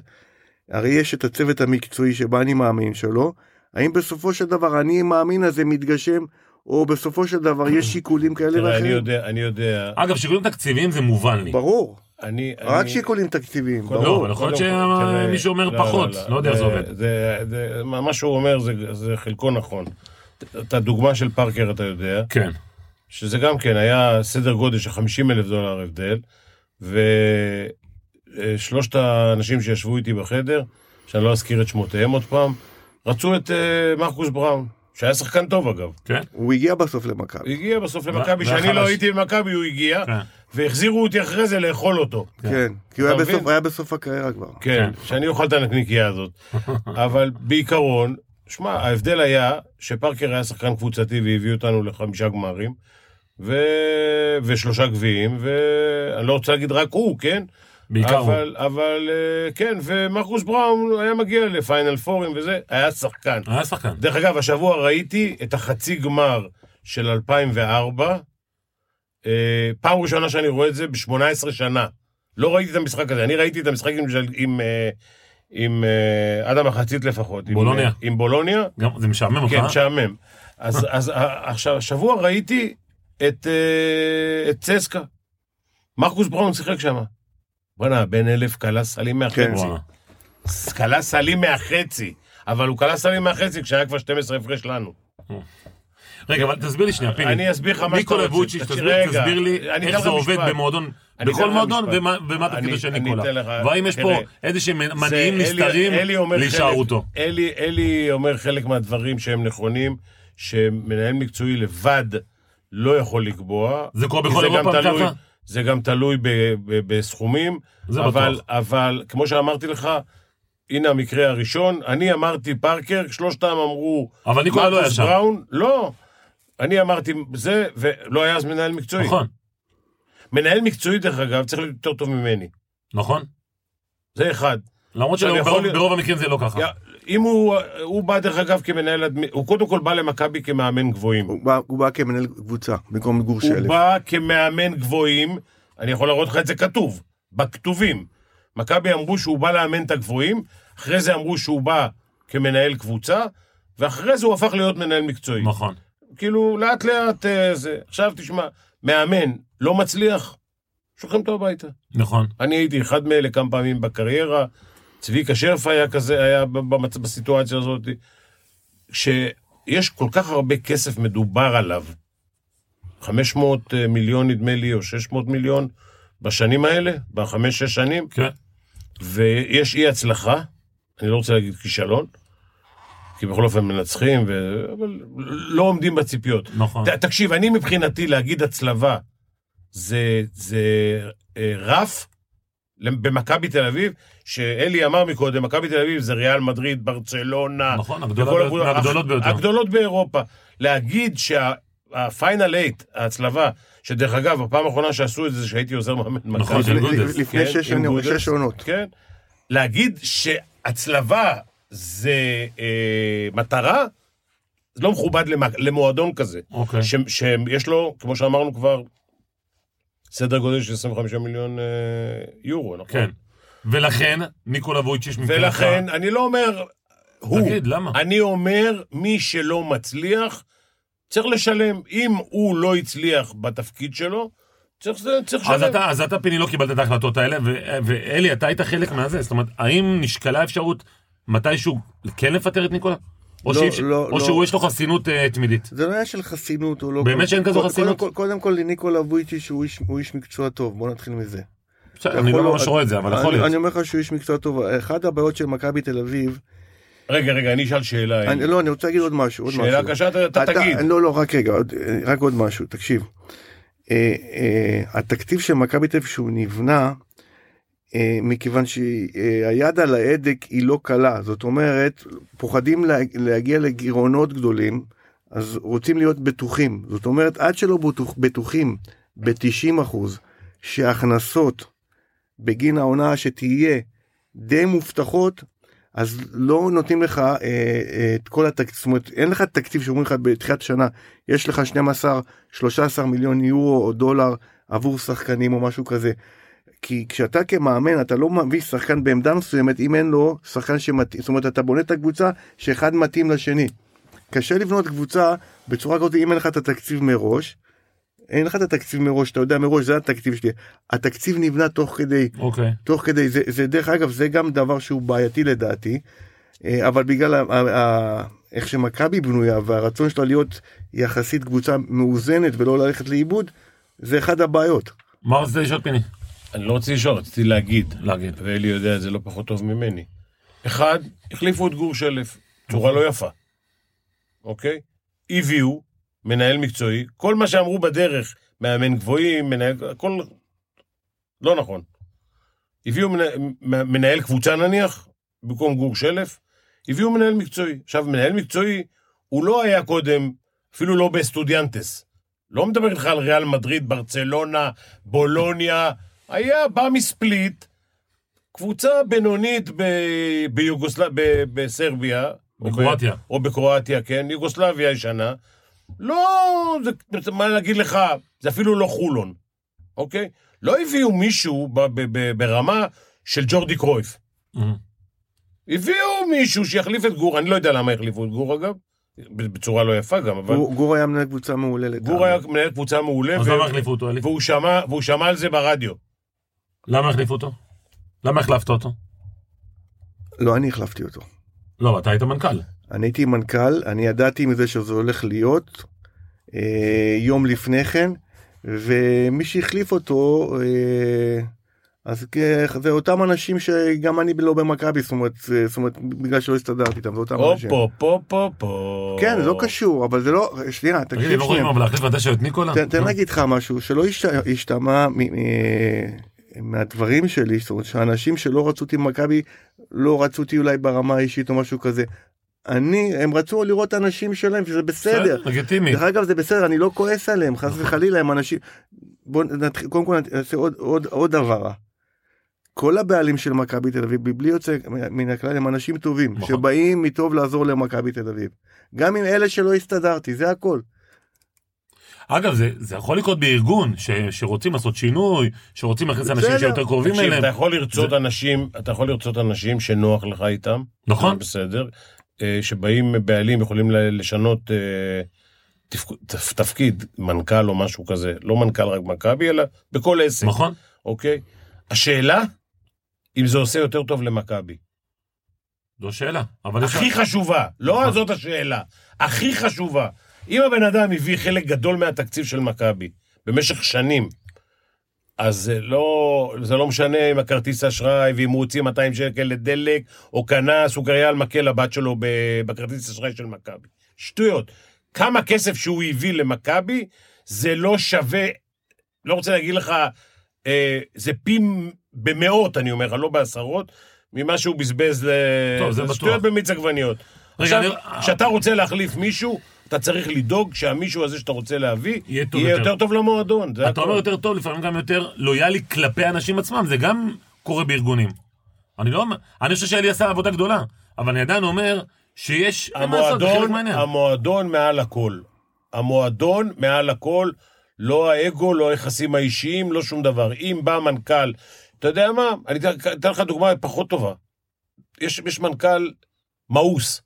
C: הרי יש את הצוות המקצועי שבה אני מאמין שלו האם בסופו של דבר אני מאמין הזה מתגשם או בסופו של דבר יש שיקולים כאלה
B: תראה, אני
C: ואחרים
B: יודע, אני יודע,
A: אגב, שיקולים תקציביים זה מובן לי.
C: ברור
B: אני...
C: רק
B: אני-
C: שיקולים תקציביים
B: קודם-
A: לא,
C: ברור
A: אבל יכול להיות
B: קודם כל, תראה,
A: שמישהו אומר
B: לא,
A: פחות, לא יודע איך זה עובד.
B: זה- זה- מה מה שהוא אומר זה- זה חלקו נכון. את הדוגמה של פארקר אתה יודע,
A: כן.
B: שזה גם כן היה סדר גודל של 50 אלף דולר הבדל, ושלושת האנשים שישבו איתי בחדר, שאני לא אזכיר את שמותיהם עוד פעם, רצו את אה, מרקוס בראון, שהיה שחקן טוב אגב.
A: כן?
C: הוא הגיע בסוף למכבי
B: הוא הגיע בסוף
A: מה-
B: למכבי,
A: מה
B: שאני לא
A: החלש?
B: הייתי במכבי, הוא הגיע,
A: כן.
B: והחזירו אותי אחרי זה לאכול אותו.
C: כן כי הוא היה
B: אתה
C: בסוף-
B: מבין?
C: היה בסוף הקריירה כבר
B: כן, שאני אוכל את הנקניקייה הזאת. אבל בעיקרון, שמע, ההבדל היה שפארקר היה שחקן קבוצתי והביא אותנו לחמישה גמרים, ו... ושלושה גביעים, ואני לא רוצה להגיד רק הוא, כן?
A: בעיקר הוא.
B: אבל, אבל אה, כן, ומרקוס בראון היה מגיע לפיינל פורים וזה, היה שחקן.
A: היה אה, שחקן.
B: דרך אגב, השבוע ראיתי את החצי גמר של 2004, אה, פעם ראשונה שאני רואה את זה ב-18 שנה. לא ראיתי את המשחק הזה, אני ראיתי את המשחק עם, של- עם, אה, עם אה, עד המחצית לפחות. עם,
A: בולוניה.
B: אה, עם בולוניה,
A: גם- זה משעמם אותך?
B: כן, משעמם. אז, אז אה, עכשיו, השבוע ראיתי את, אה, את צסקה. מרקוס בראון שיחק שם. בואנה, בן אלף קלע סלים מהחצי.
C: כן.
A: וואלה.
B: כלה סלים מהחצי. אבל הוא כלה סלים מהחצי כשהיה כבר 12 הפרש לנו.
A: רגע, אבל תסביר לי שנייה, פיני.
B: אני אסביר לך מה שאתה
A: ניקולה
B: רוצה.
A: ווצ'יץ',
B: תקשיב,
A: תסביר
B: רגע,
A: תסביר
B: אני אתן
A: לי איך
B: לך
A: זה עובד
B: משפט.
A: במועדון,
B: אני אתן
A: בכל
B: לך
A: מועדון,
B: משפט.
A: ומה ומה
B: אני-
A: התפקיד של
B: אני
A: ניקולה.
B: אתן לך-
A: והאם יש פה
B: תראה,
A: איזה שהם
B: זה
A: מניעים
B: אלי-
A: נסתרים
B: אלי אומר חלק-
A: להישארותו?
B: אלי, אלי אומר חלק מהדברים שהם נכונים, שמנהל מקצועי לבד לא יכול לקבוע.
A: זה קורה
B: כי
A: בכל
B: גם
A: אירופה,
B: תלוי-
A: ככה?
B: זה גם תלוי ב, ב, בסכומים,
A: זה
B: אבל,
A: בטוח.
B: אבל כמו שאמרתי לך, הנה המקרה הראשון, אני אמרתי פארקר, שלושתם אמרו...
A: אבל ניקולה לא היה
B: מרקוס
A: שם.
B: בראון, לא. אני אמרתי זה, ולא היה אז מנהל מקצועי.
A: נכון,
B: מנהל מקצועי, דרך אגב, צריך להיות יותר טוב ממני.
A: נכון.
B: זה אחד.
A: למרות
B: עכשיו, יכול
A: שברוב
B: להיות-
A: ברוב המקרים זה לא ככה.
B: יא, אם הוא, הוא בא, דרך אגב, כמנהל, אדמי- הוא קודם כל בא למכבי כמאמן גבוהים.
C: הוא בא- הוא בא כמנהל קבוצה במקום גור
B: הוא
C: שלף.
B: בא כמאמן גבוהים, אני יכול להראות לך את זה כתוב, בכתובים. מכבי אמרו שהוא בא לאמן את הגבוהים, אחרי זה אמרו שהוא בא כמנהל קבוצה, ואחרי זה הוא הפך להיות מנהל מקצועי.
A: נכון.
B: כאילו, לאט לאט אה, זה. עכשיו תשמע, מאמן לא מצליח, שולחים אותו הביתה.
A: נכון.
B: אני הייתי אחד מאלה כמה פעמים בקריירה, צביקה שרף היה כזה, היה במצ... בסיטואציה הזאת, שיש כל כך הרבה כסף מדובר עליו, 500 מיליון נדמה לי, או 600 מיליון, בשנים האלה, בחמש-שש שנים,
A: כן.
B: ויש אי הצלחה, אני לא רוצה להגיד כישלון, כי בכל אופן מנצחים, ו... אבל לא עומדים בציפיות.
A: נכון.
B: ת, תקשיב, אני מבחינתי להגיד הצלבה זה, זה אה, רף למ- במכבי תל אביב, שאלי אמר מקודם, מכבי תל אביב זה ריאל מדריד, ברצלונה.
A: נכון, הגדולה
B: וכל
A: ביותר-
B: הקבוצות-
A: מהגדולות ביותר.
B: הגדולות באירופה. להגיד שהפיינל אייט, ההצלבה, שדרך אגב, הפעם האחרונה שעשו את זה, זה שהייתי עוזר מאמן
A: נכון,
B: מכבי.
A: של
C: לפ-
A: גודס,
C: לפני
B: כן,
C: שש
B: עם
C: שנים-
B: גודס.
C: שש עונות.
B: כן. להגיד שהצלבה זה אה, מטרה, זה לא מכובד למ- למועדון כזה.
A: אוקיי.
B: ש- שיש לו, כמו שאמרנו כבר, סדר גודל של 25 מיליון אה, יורו, נכון?
A: כן. ולכן, ניקולה וויצ'יש מבחינתך...
B: ולכן, אני לא אומר הוא,
A: תגיד, למה?
B: אני אומר, מי שלא מצליח, צריך לשלם. אם הוא לא הצליח בתפקיד שלו, צריך צריך
A: אז
B: לשלם.
A: אתה, אז אתה פיני לא קיבלת את ההחלטות האלה, ו- ואלי, אתה היית חלק מהזה, זאת אומרת, האם נשקלה אפשרות מתישהו כן לפטר את ניקולה? או,
C: לא,
A: שאי אפשר-
C: לא,
A: או
C: לא.
A: שהוא יש לו חסינות אה, תמידית?
C: זה לא היה של חסינות או לא.
A: באמת שאין כזו
C: קודם-
A: חסינות?
C: קודם כל- קודם כל לניקולה וויצ'י שהוא איש- הוא איש מקצוע טוב, בוא נתחיל מזה.
A: בסדר, אני לא
C: יכול-
A: ממש רואה את זה, אבל
C: אני-
A: יכול
C: אני
A: להיות.
C: אומר לך שהוא איש מקצוע טוב. אחת הבעיות של מכבי תל אביב,
B: רגע, רגע, אני אשאל
A: אה.
B: שאלה.
C: אני, לא, אני רוצה להגיד עוד משהו, עוד משהו.
B: שאלה קשה, אתה- אתה תגיד.
C: לא, לא, רק רגע, עוד- רק עוד משהו, תקשיב. אה, אה, התקציב של מכבי תל אביב שהוא נבנה, אה, מכיוון שהיד על ההדק היא לא קלה, זאת אומרת, פוחדים לה, להגיע לגירעונות גדולים, אז רוצים להיות בטוחים. זאת אומרת, עד שלא בטוח, בטוחים ב-90 אחוז שההכנסות בגין העונה שתהיה די מובטחות, אז לא נותנים לך אה, אה, את כל התקציב, זאת אומרת אין לך תקציב שאומרים לך בתחילת שנה יש לך 12-13 מיליון יורו או דולר עבור שחקנים או משהו כזה. כי כשאתה כמאמן אתה לא מביא שחקן בעמדה מסוימת אם אין לו שחקן שמתאים, זאת אומרת אתה בונה את הקבוצה שאחד מתאים לשני. קשה לבנות קבוצה בצורה כזאת אם אין לך את התקציב מראש. אין לך את התקציב מראש אתה יודע מראש זה התקציב שלי התקציב נבנה תוך כדי
A: אוקיי.
C: תוך כדי זה זה דרך אגב זה גם דבר שהוא בעייתי לדעתי אה, אבל בגלל ה, ה, ה, איך שמכבי בנויה והרצון שלה להיות יחסית קבוצה מאוזנת ולא ללכת לאיבוד זה אחד הבעיות.
A: מה רצית לשאול פיני?
B: אני לא רוצה לשאול, רציתי להגיד.
A: להגיד.
B: ואלי יודע את זה לא פחות טוב ממני. אחד, החליפו את גור שלף, צורה לא יפה, אוקיי? הביאו מנהל מקצועי, כל מה שאמרו בדרך, מאמן גבוהים, מנהל, הכל לא נכון. הביאו מנה- מ- מנהל קבוצה נניח, במקום גור שלף, הביאו מנהל מקצועי. עכשיו, מנהל מקצועי, הוא לא היה קודם, אפילו לא בסטודיאנטס. לא מדבר איתך על ריאל מדריד, ברצלונה, בולוניה, היה, בא מספליט, קבוצה בינונית ב... ביוגוסל... ב... בסרביה.
A: בקרואטיה.
B: או, ב... או בקרואטיה, כן, יוגוסלביה ישנה. לא, זה, זה- מה להגיד לך, זה אפילו לא חולון, אוקיי? לא הביאו מישהו ב... ב... ב... ברמה של ג'ורדי קרויף. הביאו מישהו שיחליף את גור, אני לא יודע למה החליפו את גור אגב, בצורה לא יפה גם, אבל
C: גור, גור היה מנהל קבוצה מעולה לדעתי.
B: גור היה מנהל קבוצה מעולה,
A: אז
B: ו-
A: למה החליפו אותו, אלי?
B: והוא שמע, והוא שמע על זה ברדיו.
A: למה החליפו אותו? למה החלפת אותו?
C: לא אני החלפתי אותו.
A: לא, אתה היית מנכ"ל.
C: אני הייתי מנכ"ל, אני ידעתי מזה שזה הולך להיות אה, יום לפני כן, ומי שהחליף אותו, אה, אז כ- זה אותם אנשים שגם אני לא במכבי, זאת אומרת, אה, זאת אומרת, בגלל שלא הסתדרתי איתם, זה אותם
B: הופ,
C: אנשים.
B: הופ, הופ, הופ, הופ.
C: כן, זה לא קשור, אבל זה לא, שנייה,
A: תגיד לי,
C: תקשיב
A: לא
C: שנייה.
A: רואים אבל להחליף בדשא את ניקולה? לא.
C: תן- תן
A: נו.
C: להגיד לך משהו שלא השת- השתמע מ- מ- מהדברים שלי זאת אומרת שאנשים שלא רצו אותי במכבי לא רצו אותי אולי ברמה האישית או משהו כזה. אני הם רצו לראות את האנשים שלהם שזה בסדר.
A: לגיטימי.
C: דרך אגב זה בסדר אני לא כועס עליהם חס וחלילה הם אנשים. בוא נתחיל קודם כל נעשה עוד עוד עוד הבהרה. כל הבעלים של מכבי תל אביב בלי יוצא מן הכלל הם אנשים טובים
A: נכון.
C: שבאים מטוב לעזור למכבי תל אביב. גם עם אלה שלא הסתדרתי זה הכל.
A: אגב, זה- זה יכול לקרות בארגון, ש- שרוצים לעשות שינוי, שרוצים להכניס אנשים
C: בסדר.
A: שיותר קרובים
B: תקשיב,
A: אליהם.
B: אתה יכול לרצות אנשים, אתה יכול לרצות אנשים שנוח לך איתם.
A: נכון.
B: זה בסדר. אה, שבאים בעלים יכולים ל- לשנות אה, תפק- תפ- תפקיד, מנכ"ל או משהו כזה. לא מנכ"ל רק מכבי, אלא בכל עסק,
A: נכון?
B: אוקיי? השאלה, אם זה עושה יותר טוב למכבי.
A: זו שאלה. אבל יש-
B: הכי חשובה, לא
A: נכון.
B: זאת השאלה, הכי חשובה. אם הבן אדם הביא חלק גדול מהתקציב של מכבי במשך שנים, אז זה לא, זה לא משנה אם הכרטיס אשראי ואם הוא הוציא 200 שקל לדלק, או קנה סוכריה על מקל לבת שלו ב- בכרטיס אשראי של מכבי. שטויות. כמה כסף שהוא הביא למכבי, זה לא שווה, לא רוצה להגיד לך, אה, זה פי במאות, אני אומר לך, לא בעשרות, ממה שהוא בזבז ל...
A: טוב, זה בטוח.
B: שטויות במיץ עגבניות.
A: רגע,
B: עכשיו,
A: אני-
B: כשאתה רוצה להחליף מישהו, אתה צריך לדאוג שהמישהו הזה שאתה רוצה להביא,
A: יהיה טוב
B: יהיה
A: יותר.
B: יותר טוב למועדון. זה
A: אתה
B: הכל.
A: אומר יותר טוב, לפעמים גם יותר לויאלי כלפי האנשים עצמם, זה גם קורה בארגונים. אני לא אומר, אני חושב שאלי עשה עבודה גדולה, אבל אני עדיין אומר שיש, אין מה לעשות, זה חלק
B: המועדון,
A: מהעניין.
B: המועדון מעל הכל. המועדון מעל הכל, לא האגו, לא היחסים האישיים, לא שום דבר. אם בא מנכ"ל, אתה יודע מה, אני אתן אתן לך דוגמה פחות טובה. יש, יש מנכ"ל מאוס,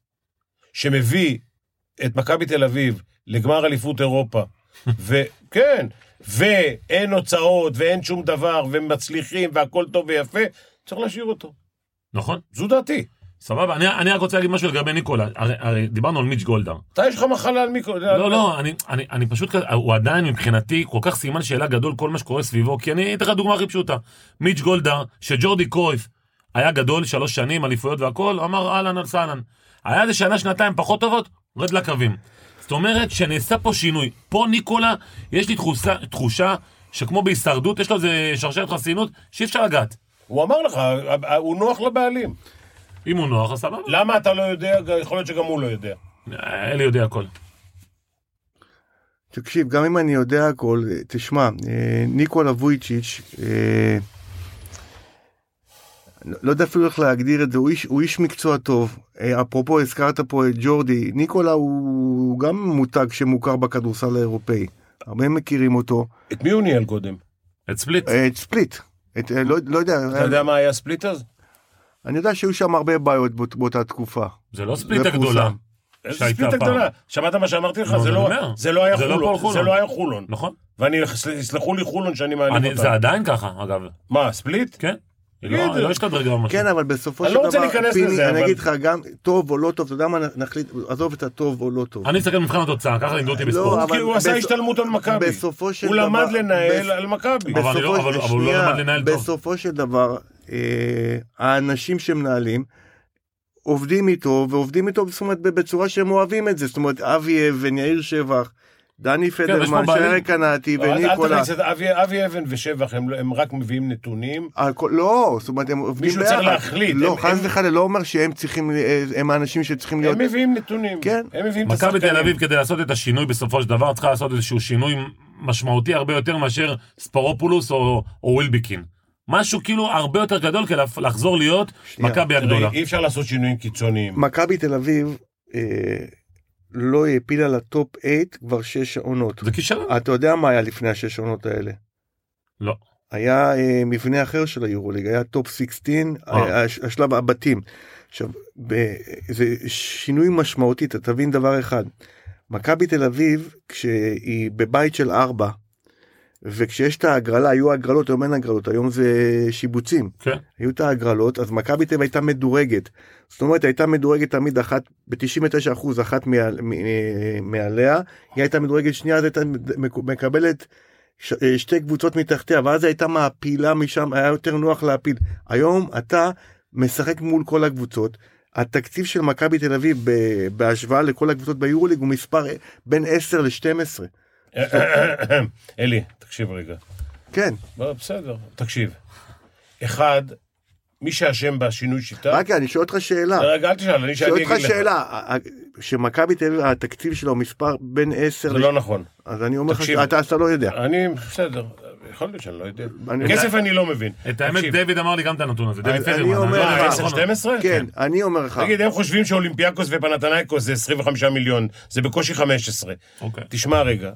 B: שמביא את מכבי תל אביב לגמר אליפות אירופה, וכן, ואין הוצאות, ואין שום דבר, ומצליחים, והכל טוב ויפה, צריך להשאיר אותו.
A: נכון?
B: זו דעתי.
A: סבבה, אני, אני רק רוצה להגיד משהו לגבי ניקולה, הרי, הרי דיברנו על מיץ' גולדהר.
B: אתה, יש לך מחלה על מיקרו...
A: לא, לא, אני, אני, אני פשוט, כ- הוא עדיין מבחינתי כל כך סימן שאלה גדול כל מה שקורה סביבו, כי אני אתן לך דוגמה הכי פשוטה. מיץ' גולדהר, שג'ורדי קרויף היה גדול שלוש שנים, אליפויות והכול, הוא אמר אהלן על סהלן. היה איזה שנה, שנתיים פחות טובות, רד לקווים. זאת אומרת שנעשה פה שינוי. פה ניקולה, יש לי תחושה, תחושה שכמו בהישרדות, יש לו איזה שרשרת חסינות שאי אפשר לגעת.
B: הוא אמר לך, הוא נוח לבעלים.
A: אם הוא נוח, אז סבבה. אה,
B: למה אתה לא יודע? יכול להיות שגם הוא לא יודע.
A: אלי יודע הכל.
C: תקשיב, גם אם אני יודע הכל, אה, תשמע, אה, ניקולה וויצ'יץ', אה, לא- לא יודע אפילו איך להגדיר את זה, הוא איש, הוא איש מקצוע טוב. אה, אפרופו, הזכרת פה את ג'ורדי, ניקולה הוא גם מותג שמוכר בכדורסל האירופאי. הרבה מכירים אותו.
B: את מי הוא ניהל קודם?
A: את ספליט.
C: אה, את ספליט, את, אה, לא, לא יודע,
B: אתה יודע מה היה ספליט אז?
C: אני יודע שהיו שם הרבה בעיות באות- באותה תקופה.
A: זה לא ספליט
C: זה
A: הגדולה.
C: פורסם.
B: איזה
A: שהייתה
B: ספליט
A: פעם.
B: הגדולה. שמעת מה שאמרתי לך?
A: נו,
B: זה
A: אני
B: לא-
A: אומר.
B: זה לא היה
A: זה לא הפועל
B: חולון.
A: חולון.
B: זה לא היה חולון.
A: נכון?
B: ואני, יסלחו לי חולון שאני
A: אני-
B: מעליב
A: זה
B: אותם.
A: עדיין ככה, אגב.
B: מה, ספליט?
A: כן. היא
B: תגיד,
A: לא- היא לא השתדרגה ממש.
C: כן, אבל בסופו
B: אני
C: של
B: לא
C: דבר,
B: רוצה להיכנס
C: פיני,
B: לזה,
C: אני
B: אבל-
C: אגיד לך, גם טוב או לא טוב, אתה יודע מה, נחליט, עזוב את הטוב או לא טוב.
A: אני מסתכל על מבחן התוצאה, ככה לימדו אותי
C: לא,
A: בספורט.
B: כי הוא
C: אבל
B: עשה
C: בס-
B: השתלמות על לא מכבי.
C: בסופו של
B: הוא
C: דבר-
B: למד לנהל
C: בס-
B: על מכבי.
A: אבל אני לא-
C: בסופו
A: אבל-
C: של-
A: אבל הוא לא
C: שנייה,
A: למד לנהל טוב.
C: בסופו של דבר, אה, האנשים שמנהלים, עובדים איתו, ועובדים איתו, זאת אומרת, בצורה שהם אוהבים את זה. זאת אומרת, אבי אבן, יאיר שבח, דני
A: ויש כן, פה
C: פדרמן,
A: בעלים. אה,
C: שרק קנאתי
B: אל- אל
C: וניקולה.
B: תכניס את אבי- אבי אבן ושבח, הם לא- הם רק מביאים נתונים.
C: הכל- לא, זאת אומרת, הם עובדים
B: מישהו
C: ביחד.
B: צריך להחליט,
C: לא,
B: הם-
C: חס
B: הם-
C: וחלילה, לא אומר שהם צריכים, אה, הם האנשים שצריכים להיות...
B: הם מביאים נתונים.
C: כן.
B: הם מביאים את
A: מכבי
B: השחקנים.
A: תל אביב, כדי לעשות את השינוי בסופו של דבר, צריכה לעשות איזשהו שינוי משמעותי הרבה יותר מאשר ספרופולוס או או ווילביקין. משהו כאילו הרבה יותר גדול כדי להפ- לחזור להיות
C: שנייה,
A: מכבי
B: תראי,
A: הגדולה.
B: אי אפשר לעשות שינויים קיצוניים.
C: מכבי תל אביב אה, לא העפילה לטופ 8 כבר שש עונות.
A: זה כישלון.
C: אה, אתה יודע מה היה לפני השש עונות האלה?
A: לא.
C: היה אה, מבנה אחר של היורוליג, היה טופ 16,
A: אה.
C: אה. הש, השלב הבתים. עכשיו, ב, זה שינוי משמעותי, אתה תבין דבר אחד. מכבי תל אביב, כשהיא בבית של ארבע, וכשיש את ההגרלה, היו הגרלות, היום אין הגרלות, היום זה שיבוצים.
A: כן.
C: היו את ההגרלות, אז מכבי תל אביב הייתה מדורגת. זאת אומרת, הייתה מדורגת תמיד אחת, ב-99% אחת מעל- מ- מ- מעליה, היא הייתה מדורגת שנייה, אז הייתה מק- מקבלת ש- אה, שתי קבוצות מתחתיה, ואז הייתה מעפילה משם, היה יותר נוח להפיל. היום אתה משחק מול כל הקבוצות. התקציב של מכבי תל אביב ב- בהשוואה לכל הקבוצות ביורוליג הוא מספר אה, בין 10 ל-12.
B: אלי, תקשיב רגע.
C: כן,
B: לא, בסדר, תקשיב. אחד, מי שאשם בשינוי שיטה...
C: רק אני שואל אותך שאלה.
B: רגע, אל תשאל, אני
C: שואל
B: שאני
C: אותך
B: אגיד לך.
C: שאלה, ה- ה- שמכבי תל אביב, התקציב שלו מספר בין 10
B: זה לא נכון.
C: אז אני אומר לך,
B: תקשיב. אה,
C: אתה אתה לא יודע.
B: אני, בסדר, יכול להיות שאני לא יודע.
C: אני-
B: כסף אני לא מבין.
A: את האמת,
B: תקשיב,
A: דיוויד אמר לי גם את הנתון הזה, דיוויד
C: אני
A: פדרמן.
C: אומר
A: אמר לי,
C: לך-
A: נכון,
B: 10-12?
C: כן, אני אומר לך,
B: תגיד, הם חושבים שאולימפיאקוס ופנתנייקוס זה 25 מיליון, זה בקושי 15.
A: אוקיי.
B: תשמע רגע,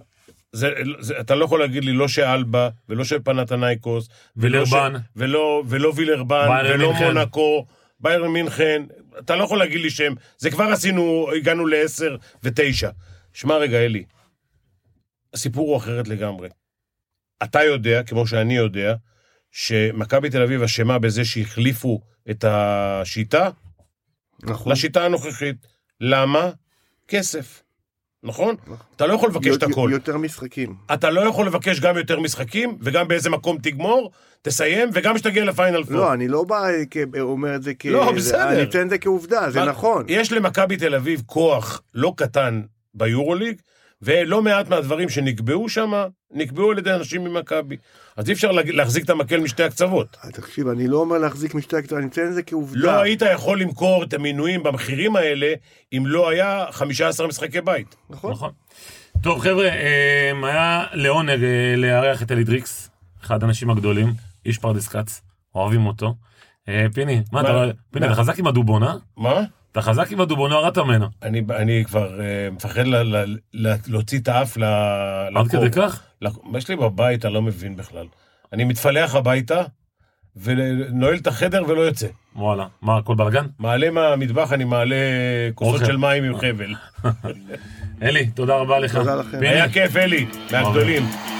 B: זה, זה, אתה לא יכול להגיד לי לא שאלבה, ולא של פנתנייקוס, ולא
A: וילרבן.
B: ש- ולא, ולא וילרבן,
A: ביירן
B: ולא
A: מינכן.
B: מונקו, ביירן מינכן, אתה לא יכול להגיד לי שהם, זה כבר עשינו, הגענו לעשר ותשע. שמע רגע, אלי, הסיפור הוא אחרת לגמרי. אתה יודע, כמו שאני יודע, שמכבי תל אביב אשמה בזה שהחליפו את השיטה,
C: נכון,
B: לשיטה הנוכחית. למה? כסף. נכון? אתה לא יכול לבקש
C: יו-
B: את הכל.
C: יו- יותר משחקים,
B: אתה לא יכול לבקש גם יותר משחקים, וגם באיזה מקום תגמור, תסיים, וגם שתגיע לפיינל פור.
C: לא, אני לא בא, אה, כ- אומר את זה כ...
B: לא,
C: זה-
B: בסדר.
C: אני אתן את זה כעובדה, זה
B: מה-
C: נכון,
B: יש למכבי תל אביב כוח לא קטן ביורוליג, ולא מעט מהדברים שנקבעו שם, נקבעו על ידי אנשים ממכבי. אז אי אפשר לה- להחזיק את המקל משתי הקצוות.
C: אה, תקשיב, אני לא אומר להחזיק משתי הקטעים, אני אתן את זה
B: לא
C: כעובדה,
B: היית יכול למכור את המינויים במחירים האלה, אם לא היה 15 משחקי בית.
C: נכון?
A: נכון. טוב, חבר'ה, אה, היה לעונג אה, לארח את אלידריקס, אחד האנשים הגדולים, איש פרדס כץ, אוהבים אותו. אה, פיני, מה אתה
B: מה?
A: רואה? פיני, אתה חזק עם הדובונה?
B: מה?
A: אתה חזק עם הדובונה, הורדת ממנו.
B: אני, אני כבר אה, מפחד ל, ל, ל, להוציא את האף ל...
C: לא
A: עד כדי כך?
B: לקור. יש לי בבית, אני לא מבין בכלל. אני מתפלח הביתה, ונועל את החדר ולא יוצא.
A: וואלה. מה, הכל בלאגן?
B: מעלה מהמטבח, אני מעלה כוסות
A: אוכל.
B: של מים עם חבל.
A: אלי, תודה רבה לך.
C: תודה לכם. אה,
A: פיני,
B: היה כיף, אלי, מהגדולים.